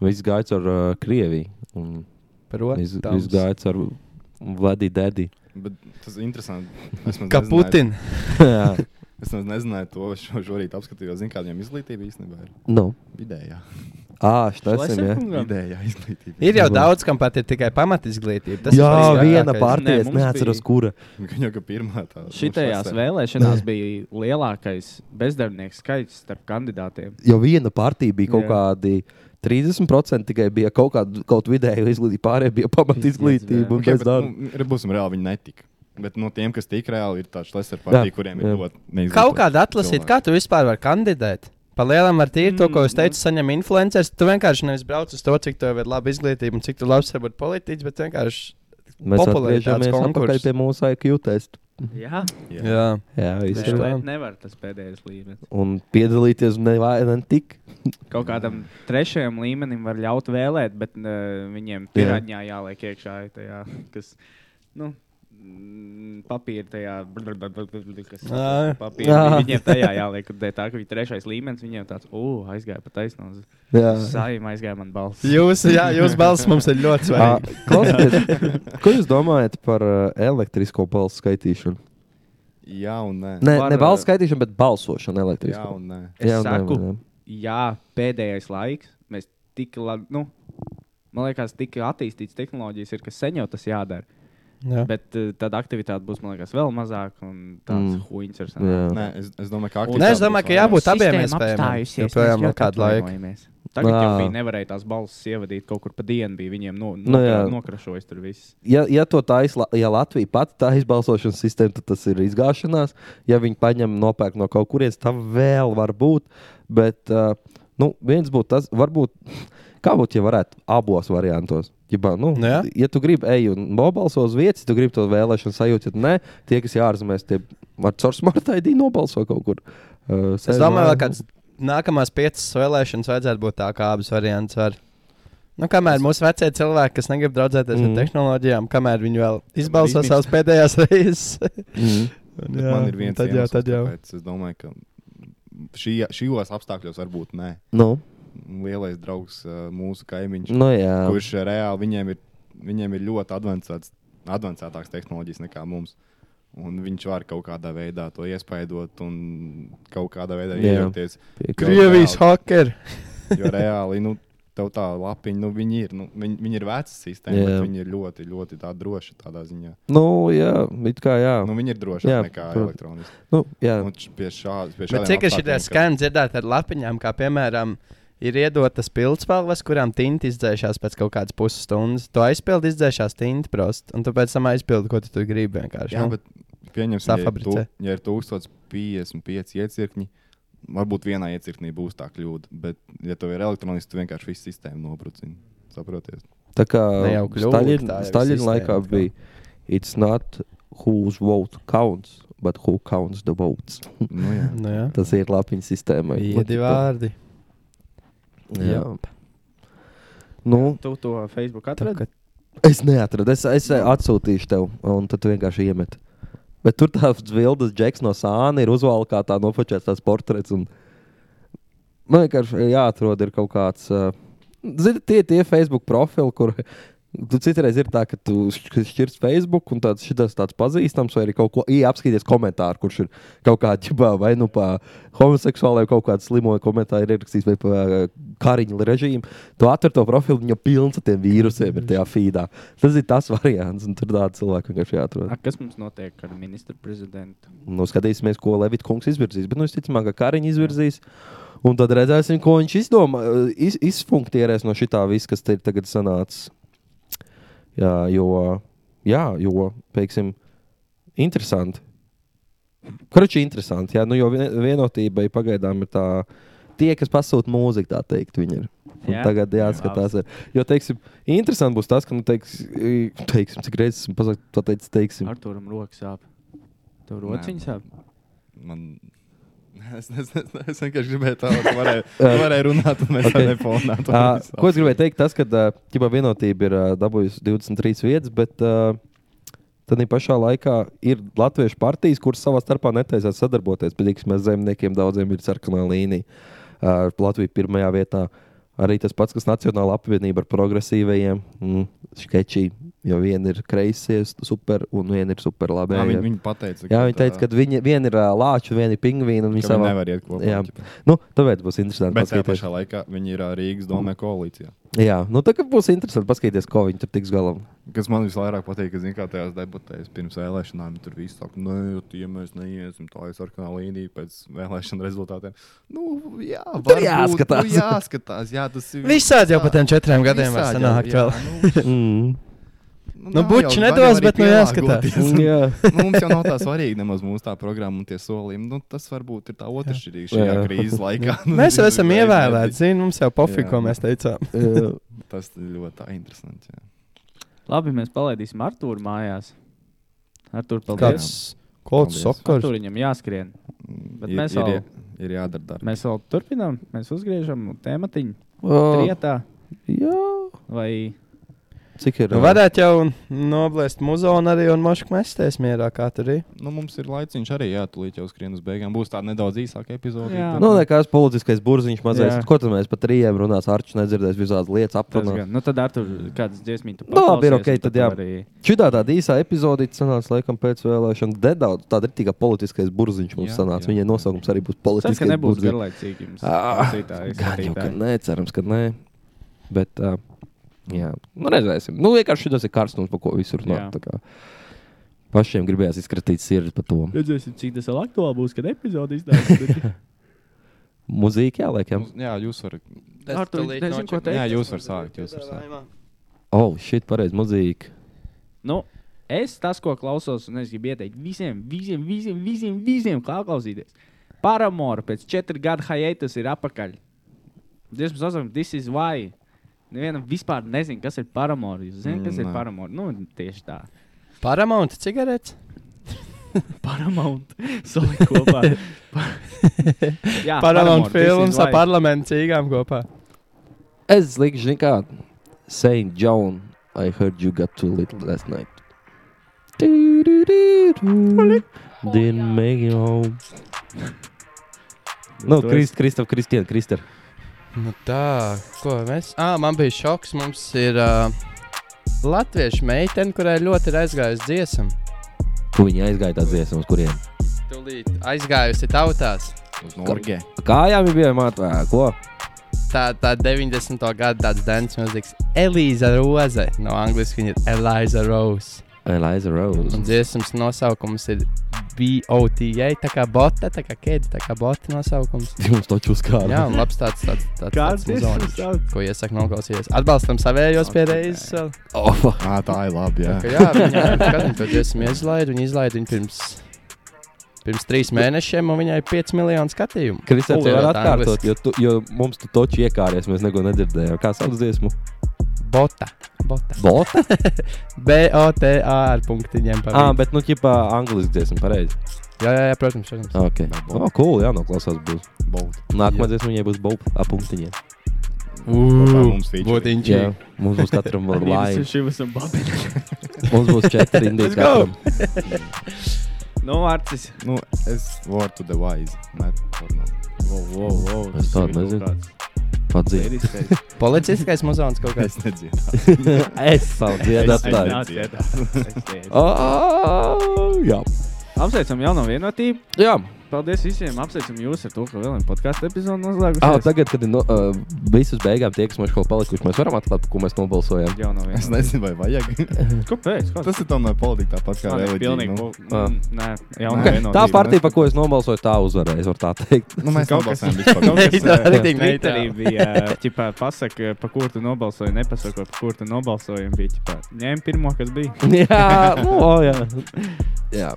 Speaker 2: viss gāja ar uh, Krieviju. Un viss
Speaker 1: -hmm.
Speaker 2: viss gāja ar Vladiju Dēdi.
Speaker 4: Bet tas ir interesanti. Es maz
Speaker 1: Kā
Speaker 4: nezināju-
Speaker 1: Putina.
Speaker 2: Jā,
Speaker 4: Es maz nezināju to šo, šorīt, apskatījos, zinu, kāda viņam izglītība īstenībā ir.
Speaker 2: nu.
Speaker 4: Vidējā.
Speaker 2: Ah, tas ir. jā.
Speaker 4: Vidējā izglītība.
Speaker 1: Nu Ir jau
Speaker 2: Varbūt.
Speaker 1: daudz, kam pat ir tikai pamatizglītība. Tas ir
Speaker 2: Jā,
Speaker 1: svarīgākais.
Speaker 2: viena
Speaker 8: Nē,
Speaker 2: pārties,
Speaker 8: mums
Speaker 2: neatceros,
Speaker 8: bija-
Speaker 2: kura.
Speaker 4: Viņa jau pirmā tā. nu,
Speaker 8: Šitajās
Speaker 4: šosē.
Speaker 8: vēlēšanās bija lielākais bezdarbnieku skaits starp kandidātiem.
Speaker 2: jau viena partija bija kaut
Speaker 8: Jā.
Speaker 2: Jā. kādi 30% tikai bija kaut kāda kaut vidēja izglītība, pārējie bija pamat izglītība un
Speaker 4: Okay,
Speaker 2: bez
Speaker 4: bet,
Speaker 2: darba.
Speaker 4: nu, re- būsim reāli, viņi netika. Bet no tiem, kas tika reāli, ir tāds lesers partija, kuriem
Speaker 2: jā.
Speaker 4: ir ļoti neizglītība.
Speaker 1: Kaut kādā atlasīt, kā tu vispār vari kandidēt. Pa lielam ar tīri to, ko es teicu, saņem influenceris. Tu vienkārši nevis brauc uz to, cik tev ir laba izglītība un cik tu labs vari būt politiķis, bet vienkārši.
Speaker 2: Mēs
Speaker 1: popularitātes
Speaker 2: atgriežamies atpakaļ
Speaker 1: konkurss.
Speaker 2: pie mūsu IQ testa.
Speaker 8: Jā,
Speaker 4: Jā.
Speaker 1: Jā,
Speaker 2: Jā,
Speaker 8: viņš
Speaker 2: visu
Speaker 8: to
Speaker 2: laiku.
Speaker 8: nevar tas pēdējais līmenis.
Speaker 2: Un piedalīties nevainam tik.
Speaker 8: Kaut kādam trešajam līmenim var ļaut vēlēt, bet uh, viņiem pirāņā jāliek iekšā tajā, kas, nu, mm, papīra tajā, brr, brr, brr, brr, brr, kas
Speaker 1: Ā.
Speaker 8: papīra.
Speaker 2: Jā.
Speaker 8: Viņiem tajā jāliek, kur dēļ tā, ka viņi trešais līmenis, viņiem tāds, o, aizgāja pa taisno uz
Speaker 2: Jā.
Speaker 8: saima, aizgāja man balss.
Speaker 1: jūs, jā, jūs balss mums ir ļoti
Speaker 2: Ā,
Speaker 1: svarīga.
Speaker 2: Klausieties, Ah, ko jūs domājat par ā, elektrisko balsu skaitīšanu?
Speaker 4: jā, un nē.
Speaker 2: Nē,
Speaker 8: Par,
Speaker 2: ne
Speaker 8: ā,
Speaker 2: balsu skaitīšanu, bet balsošanu
Speaker 4: jā,
Speaker 2: elektrisko.
Speaker 4: un nē.
Speaker 8: Es
Speaker 2: Jā, un nē,
Speaker 8: saku,
Speaker 2: un nē.
Speaker 8: jā, pēdējais laiks, mēs tik labi, nu, man liekas, tik attīstīts tehnoloģijas ir, ka sen jau tas jādara.
Speaker 1: Jā.
Speaker 8: Bet eh, tad aktivitāte būs, man liekas, vēl mazāk, un tāds
Speaker 2: Mm.
Speaker 8: mm. huīns ar
Speaker 2: Jā.
Speaker 4: nē es, es domāju, ka
Speaker 1: Nē, es domāju, ka jābūt abiem iespējām. Joprojām vēl
Speaker 8: apstājusies.
Speaker 1: kādu laiku.
Speaker 8: Tagad
Speaker 2: Nā.
Speaker 8: jau bija nevarēja tās balsis ievadīt kaut kur pa dienu, bija viņiem no,
Speaker 2: Nu
Speaker 8: no,
Speaker 2: jā.
Speaker 8: nokrašojis tur viss.
Speaker 2: ja, ja, to tais, ja Latvija pati tā izbalsošanas sistēma, tad tas ir izgāšanās. Ja viņi paņem nopērk no kaut kurienes, tam vēl var būt. Bet uh, nu, viens būtu tas, varbūt, kā būtu, ja varētu abos variantos. Jibā, nu,
Speaker 1: Nu jā.
Speaker 2: ja tu gribi eju un nobalso uz vietas, ja tu gribi to vēlēšanu sajūtu, tad nē, tie, kas ir ārzemēs, tie var caur smart ID nobalso kaut kur. Uh,
Speaker 1: Es domāju, ka kāds nākamās piecas vēlēšanas vajadzētu būt tā, kā abas variants var. Nu, kamēr mūsu vecie cilvēki, kas negrib draudzēties mm.
Speaker 2: Mhm.
Speaker 1: ar tehnoloģijām, kamēr viņi vēl izbalso
Speaker 4: Rītmīt.
Speaker 1: savas pēdējās reizes,
Speaker 2: Mm.
Speaker 1: Un
Speaker 4: Bet
Speaker 1: jā,
Speaker 4: man ir viens
Speaker 1: tad jā,
Speaker 4: iemesls,
Speaker 1: tad jā.
Speaker 4: kāpēc Es domāju, ka šī, šajos apstākļos varbūt nē.
Speaker 2: Nu,
Speaker 4: Lielais draugs, ā, mūsu kaimiņš,
Speaker 2: nu jā.
Speaker 4: kurš ā, reāli viņiem ir, viņiem ir ļoti advancēts- advancētāks tehnoloģijas nekā mums. Un viņš var kaut kādā veidā to iespaidot un kaut kādā veidā
Speaker 2: Jā.
Speaker 4: iejaukties.
Speaker 2: Pie-
Speaker 1: Krievijas hakeri.
Speaker 4: Jo reāli, nu, tev tā lapiņa, nu, viņi ir, nu, viņi, viņi ir veca sistēma,
Speaker 2: Jā.
Speaker 4: bet viņi ir ļoti, ļoti tā droši tādā ziņā.
Speaker 2: Nu, jā, it kā jā.
Speaker 4: Nu,
Speaker 2: Nu,
Speaker 4: viņi ir droši
Speaker 2: Jā,
Speaker 4: nekā
Speaker 2: protams.
Speaker 4: elektroniski.
Speaker 2: nu, jā.
Speaker 4: Un š- pie šādas, pie
Speaker 1: Bet
Speaker 4: šādiem
Speaker 1: cik ir šī
Speaker 4: apstākļiem, ka-
Speaker 1: skaņa dzirdēt ar lapiņām, kā piemēram, ir iedotas pildspalvas, kurām tinta izdzēšās pēc kaut kādas pusstundas. To aizpildi izdzēšās tinta prosti, un tu pēc tam aizpildi, ko tu tur gribi. vienkārši,
Speaker 4: Jā,
Speaker 1: nu.
Speaker 4: bet pieņemsim, ja ir, tu,
Speaker 1: Safabricē.
Speaker 4: ja ir 1055 iecirkņi, varbūt vienā iecirknī būs tā kļūda, bet, ja tev ir elektroniski, tu vienkārši visu sistēmu nobrucini. Saprotiet?
Speaker 2: Tā kā
Speaker 1: Ne jau kļūda, tā
Speaker 2: Staļina
Speaker 1: jau
Speaker 2: Staļina
Speaker 1: sistēma
Speaker 2: laikā
Speaker 1: atkal.
Speaker 2: bija It's not whose vote counts, but who counts the votes.
Speaker 4: Nu, jā.
Speaker 1: Nu, jā.
Speaker 2: Tas ir lapiņu sistēmai.
Speaker 1: Bija divi vārdi.
Speaker 2: Jā. Nu,
Speaker 8: Tu to Facebook
Speaker 1: Tā
Speaker 8: atradi?
Speaker 1: kā-
Speaker 2: es neatradu, es, es atsūtīšu tev, un tad tu vienkārši iemet. Bet tur tāds vilnas džeks no sāna ir uzvalkā kā tā nofočēts tās portrets. Un... eh, Man vienkārši jāatrod ir kaut kāds. Uh... Zini, tie tie Facebook profili, kur Tu citreiz ir tā, ka tu šķ- šķirs Facebook un tāds, šitas tāds pazīstams, vai arī kaut ko apskaties komentāru, kurš ir kaut kāda ģibā, vai nu pa homoseksuālai, vai kaut kāda slimoja komentāra ir ierakstīts, vai pa ā, kariņu režīmu. Tu atver to profilu, viņa pilns ar tiem vīrusiem ir tajā feedā. Tas ir tas variants, un tur tāda cilvēka vienkārši jāatrod.
Speaker 8: A, kas mums notiek ar ministru prezidentu?
Speaker 2: Nu, skatīsimies, ko Levita kungs izvirzīs. Bet, nu, visticamāk, ka Kariņš izvirzīs. Un tad redzēsim, ko viņš izdomā, iz, izfunkcionēs no šitā visa, kas te ir tagad sanācis. Jā, jo, jā, jo teiksim, interesanti. Kruči, interesanti. Jā, nu, jo vien- vienotībai pagaidām ir tā, tie, kas pasūta mūziku, tā teikt, viņi ir. Un
Speaker 8: Jā?
Speaker 2: tagad jāskatās. ir. Jo, teiksim, interesanti būs tas, ka, nu, teiks, i- teiksim, cik reizes esmu pasakts, tā teicis, teiksim,
Speaker 8: Arturam rokas sāp. Tev
Speaker 4: Nē.
Speaker 8: rociņš sāp?
Speaker 4: Man... Es, es, es, es vienkārši gribēju tādu situāciju, kāda ir. Runāt, un mēs
Speaker 2: Ok.
Speaker 4: tādā formā
Speaker 2: Ā, Ah, Ko es gribēju teikt, tas, ka ķībā vienotība ir ā, dabūjusi 23 vietas, bet ā, tad ir pašā laikā ir latviešu partijas, kuras savā starpā netaisās sadarboties. Bet, teiksim, mēs zemniekiem daudziem ir sarkanā līnija. Ā, Latvija pirmajā vietā arī tas pats, kas Nacionāla apvienība ar progresīvajiem mm, sketčiem. Jo viena ir kreisie, super, un viena ir super labi.
Speaker 4: Viņa, viņa pateica,
Speaker 2: Jā, viņi teica, ka viņi, viena ir ā, lāča, viena ir pingvīna. un Viņi
Speaker 4: viņi savā...
Speaker 2: savā...
Speaker 4: nevar iet kopā.
Speaker 2: Jā.
Speaker 4: ķipa.
Speaker 2: Nu, tāpēc būs interesanti.
Speaker 4: Bet tajā
Speaker 2: paskatīties.
Speaker 4: pašā laikā viņi ir ā, Rīgas
Speaker 2: Mm.
Speaker 4: domē koalīcijā.
Speaker 2: Jā, nu tā kā būs interesanti paskatīties, ko viņi tur tiks galā.
Speaker 4: Kas man vislabāk patīk, ka, zin, kā tajās debatēs pirms vēlēšanām tur viss saka, nē, tie ja mēs neiesim tā ir sarkanā līnija pēc vēlēšanu rezultātiem. Nu, jā, varbūt,
Speaker 2: jāskatās.
Speaker 4: Nu, jāskatās, jā, tas ir.
Speaker 1: Visādi jau pa tiem četriem gadiem var
Speaker 4: Visādi jau,
Speaker 1: sanākt
Speaker 4: jā,
Speaker 1: vēl.
Speaker 4: nu,
Speaker 2: Mm.
Speaker 1: Nu,
Speaker 4: nav
Speaker 1: buču
Speaker 4: jau-
Speaker 1: nedos,
Speaker 4: var jau arī
Speaker 1: bet nu jāskatās.
Speaker 4: pielāgoties. Nu,
Speaker 2: jā,
Speaker 4: Mums jau nav tā svarīga nemaz mūsu tā programma un tie solījumi. Nu, tas varbūt ir tā otršķirīga šajā
Speaker 2: Jā.
Speaker 4: krīzes laikā. Nu,
Speaker 1: Mēs jau
Speaker 4: zini,
Speaker 1: esam
Speaker 4: uzreiz
Speaker 1: ievēlēti, zinām, mums jau pofīgi,
Speaker 4: Jā.
Speaker 1: ko mēs teicām.
Speaker 2: jā.
Speaker 4: nezinu. Tas ir ļoti tā interesanti. Jā.
Speaker 8: Labi, mēs palaidīsim Arturu mājās. Artur, paldies.
Speaker 1: Kāds, kāds
Speaker 4: Paldies.
Speaker 1: sakars?
Speaker 8: Tur viņam jāskrien. Bet
Speaker 4: Ir-
Speaker 8: mēs
Speaker 4: ir,
Speaker 8: vēl-
Speaker 4: jā- ir jādara darbs.
Speaker 8: Mēs vēl turpinām, mēs uzgriežam tēmatiņu.
Speaker 2: Oh,
Speaker 8: Trietā
Speaker 2: jā.
Speaker 8: vai
Speaker 2: Cik ir?
Speaker 1: Nu, varētu jau noblēst muzonu arī un mošku mēsties mierā, kā tur ir.
Speaker 4: Nu, mums ir laiciņš arī jātulīt jau skrien uz beigām. Būs tāda nedaudz īsāka epizode.
Speaker 8: Jā.
Speaker 2: Nu, nekāds politiskais burziņš mazais.
Speaker 8: Jā.
Speaker 2: Ko tad mēs par trījiem runāsim? Arčs nedzirdēs visādas lietas
Speaker 8: tas
Speaker 2: aprunā.
Speaker 8: gan? Nu, tad Artur, kādas dziesmītas
Speaker 2: Nu, labi, ir ok, tad jā. Šitā tāda īsā epizode sanāca laikam pēc vēlēšana. Dedaudz tāda ir tikai politiskais burziņš mums
Speaker 4: Jā,
Speaker 2: sanāca.
Speaker 4: jā.
Speaker 2: Viņai nosaukums arī būs
Speaker 8: Tas,
Speaker 2: politiskais.
Speaker 8: ka nebūs
Speaker 2: burziņš.
Speaker 8: garlaicīgi jums.
Speaker 2: Ah,
Speaker 8: klausītāji,
Speaker 2: Gan jau, ka
Speaker 8: skatītāji.
Speaker 2: nē, cerams, ka nē. Bet, uh, jā, nu redzēsim. Nu, vienkārši tas ir karstums, par ko visur
Speaker 8: Jā.
Speaker 2: runāt. tā kā. Pašiem gribējās izskatīt sirdi par to.
Speaker 8: Redzēsim, cik tas vēl aktuāli būs, kad epizode iznāks.
Speaker 2: Mūzika jāliek, jā.
Speaker 4: Mums- jā, jūs varat.
Speaker 8: Artur, tūlīt nezinu, ko nočak- teikt.
Speaker 4: Jā, jūs varat sākt. Jūs varat sākt.
Speaker 2: Oh, šī pareizi mūzika.
Speaker 8: nu, es tas, ko klausos, un es gribu ieteikt visiem, visiem, visiem, visiem, visiem kā klausīties. Paramora pēc četru gadu haitas ir apakaļ. Dievs, man zina, this is why. Nevienam vispār nezinu, kas ir paramora. Jūs zināt, kas
Speaker 2: Mm,
Speaker 8: ir
Speaker 4: Nē.
Speaker 8: paramora? Nu, tieši tā.
Speaker 1: Paramount cigaretes?
Speaker 8: Paramount. Salikt kopā. Pa- Jā,
Speaker 1: Paramount
Speaker 8: Paramore, this is
Speaker 1: films ar
Speaker 8: why.
Speaker 1: parlamentu cīgām kopā.
Speaker 2: Es lieku, zinu, kā Saint John, I heard you got too little last night. Didn't make it home. Nu,
Speaker 8: Tu
Speaker 2: Krist, Kristof, Kristien, Krister.
Speaker 1: Nu tā, ko mēs. Ah, man bija šoks. Mums ir uh, latviešu meitene, kurai ļoti ir aizgājusi dziesma.
Speaker 2: Kur viņi aizgāja tā dziesma, uz kuriem?
Speaker 1: Tūlīt aizgājusi tautās.
Speaker 4: Uz Norgē.
Speaker 2: Kājām viņi bija mātvē, ko?
Speaker 1: Tā tā 90. gada tāds dance mūzikas Elīza Roze. No angļuiski viņa ir Elīza Rose.
Speaker 2: Eliza Rose.
Speaker 1: Un dziesmas nosaukums ir BOTA. Tā kā bota, tā kā kēde, tā kā bota nosaukums.
Speaker 2: Jums taču uz kā.
Speaker 1: Jā, un labs tāds tāds tāds tāds
Speaker 8: Kāds ir
Speaker 1: muzonis,
Speaker 8: šis sauc?
Speaker 1: ko iesaka noklausīties. Atbalstam savējos pie reizes. vēl.
Speaker 2: Oh, fuck.
Speaker 4: Ā, tā ir labi.
Speaker 1: Tā
Speaker 4: Jā.
Speaker 1: kā Jā, viņa katru to dziesmu izlaida. Viņa izlaida viņu pirms, pirms trīs mēnešiem, un viņai ir 5 miljoni skatījumu.
Speaker 2: Kristēns,
Speaker 1: Ulu,
Speaker 2: tev var
Speaker 1: tā
Speaker 2: atkārtot,
Speaker 1: angliski.
Speaker 2: jo, tu, jo mums tu taču iekāries, mēs neko nedzirdējām. Kā sauc dziesmu?
Speaker 1: Bota. Bota.
Speaker 2: Bota?
Speaker 1: B-O-T-A ar punktiņiem. pa
Speaker 2: Ā,
Speaker 1: vidu.
Speaker 2: bet nu, ķipā, angliski dziesma, pareizi.
Speaker 1: Jā, jā, jā, protams, protams.
Speaker 2: Ok.
Speaker 4: Bota.
Speaker 2: O, cool, jā, noklausās būs.
Speaker 4: Bolt.
Speaker 2: Nākamā
Speaker 1: Jā.
Speaker 2: dziesma viņai būs boba ar punktiņiem.
Speaker 4: Kopā mums featuring.
Speaker 1: Būtu
Speaker 2: Jā,
Speaker 1: inčīgi.
Speaker 2: mums būs katram vēl
Speaker 8: Vīrusu
Speaker 2: laika.
Speaker 8: šivas un babiņu.
Speaker 2: Mums būs četri indīgi katram.
Speaker 8: Nu, Artis.
Speaker 4: Nu, es varu to the wise. Nē,
Speaker 8: Wow, wow, wow.
Speaker 2: Es tādu nezinu. pat dzīvo.
Speaker 1: Policiskais muzons kaut kāds.
Speaker 4: Es nedzinu.
Speaker 2: Es savu dziedātāju.
Speaker 8: Apsveicam
Speaker 2: Ā, Jā,
Speaker 8: jauno vienotību.
Speaker 2: jā.
Speaker 8: Paldies visiem. Apsveicam jūs ar to, ka vēl viena podkāstu epizode noslēgusies.
Speaker 4: Ah,
Speaker 2: Ā, tagad, kad ir no, uh, visus beigām tie, kas mums kaut kā palikuši, mēs varam atklāt, ko mēs nobalsojām.
Speaker 8: Jauno
Speaker 4: Es
Speaker 8: vienotību.
Speaker 4: nezinu, vai vajag.
Speaker 8: Kāpēc? Kāds?
Speaker 4: Tas ir tomēr politika tāpat kā
Speaker 8: Man ir
Speaker 4: reliģija.
Speaker 8: pilnīgi
Speaker 4: nu.
Speaker 8: po- Mm, Nē, jauno
Speaker 4: Nē.
Speaker 8: vienotību.
Speaker 2: Tā partija, par ko es nobalsoju, tā uzvarēja. Es varu tā teikt.
Speaker 4: Nu, mēs
Speaker 8: Kaut
Speaker 4: kaut
Speaker 8: kas- eh,
Speaker 4: kādā veidā
Speaker 1: Tā arī tik
Speaker 8: Twitterī
Speaker 1: neitrāli.
Speaker 8: bija, ķipā, pasaka, pa kur tu nobalsoji, nepasaka, pa kur tu nobalsoji, un bija, ķipā, ņem pirmo, kas bija.
Speaker 2: jā, nu, o, jā. jā.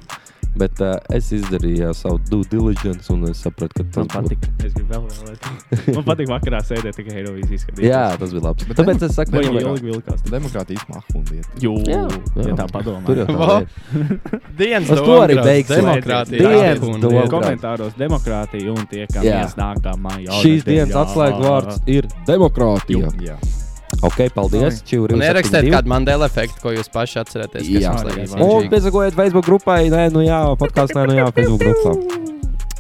Speaker 2: Bet uh, es izdarīju jā, savu due diligence, un es sapratu, ka tas
Speaker 8: Man patīk. Es gribu vēl vēlēt. Man patīk vakarā sēdēt tikai
Speaker 2: Būtu...
Speaker 8: Eirovizijas skatīties.
Speaker 2: Jā, tas bija labi.
Speaker 4: Bet
Speaker 2: Tāpēc es saku,
Speaker 8: Vai
Speaker 4: Vai
Speaker 8: jau
Speaker 4: jau-
Speaker 8: ilgi vilkās?
Speaker 4: Demokrātija izmahundiet.
Speaker 8: Jū,
Speaker 2: Jā.
Speaker 8: ja
Speaker 2: Jā.
Speaker 8: tā
Speaker 2: Tur
Speaker 8: padomā.
Speaker 2: jau tā
Speaker 1: Vo.
Speaker 2: lieta.
Speaker 1: Dienas
Speaker 2: Uz to
Speaker 1: domkrauts,
Speaker 2: arī beigsim.
Speaker 1: Demokrātija.
Speaker 2: Dienas
Speaker 1: Ārpun-
Speaker 2: domkrauts.
Speaker 8: Komentāros demokrātija un tie, kam
Speaker 2: Jā.
Speaker 8: mēs nākamā jau.
Speaker 2: Šīs dienas atslēgvārds ir demokrātija.
Speaker 4: Jā.
Speaker 2: Ok, paldies. Čivri,
Speaker 1: Un ierakstiet kādu Mandela efektu, ko jūs paši atceraties. kas
Speaker 2: Jā.
Speaker 1: jums liekas
Speaker 4: Arī
Speaker 2: Un
Speaker 1: svarīgi.
Speaker 2: piesakojiet Facebook grupai, nē, nu jā, podkāstā, nē, nu jā, Facebook grupā.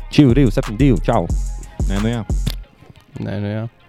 Speaker 2: Čivri, 72, čau!
Speaker 4: Nē, nu jā.
Speaker 1: Nē, nu jā.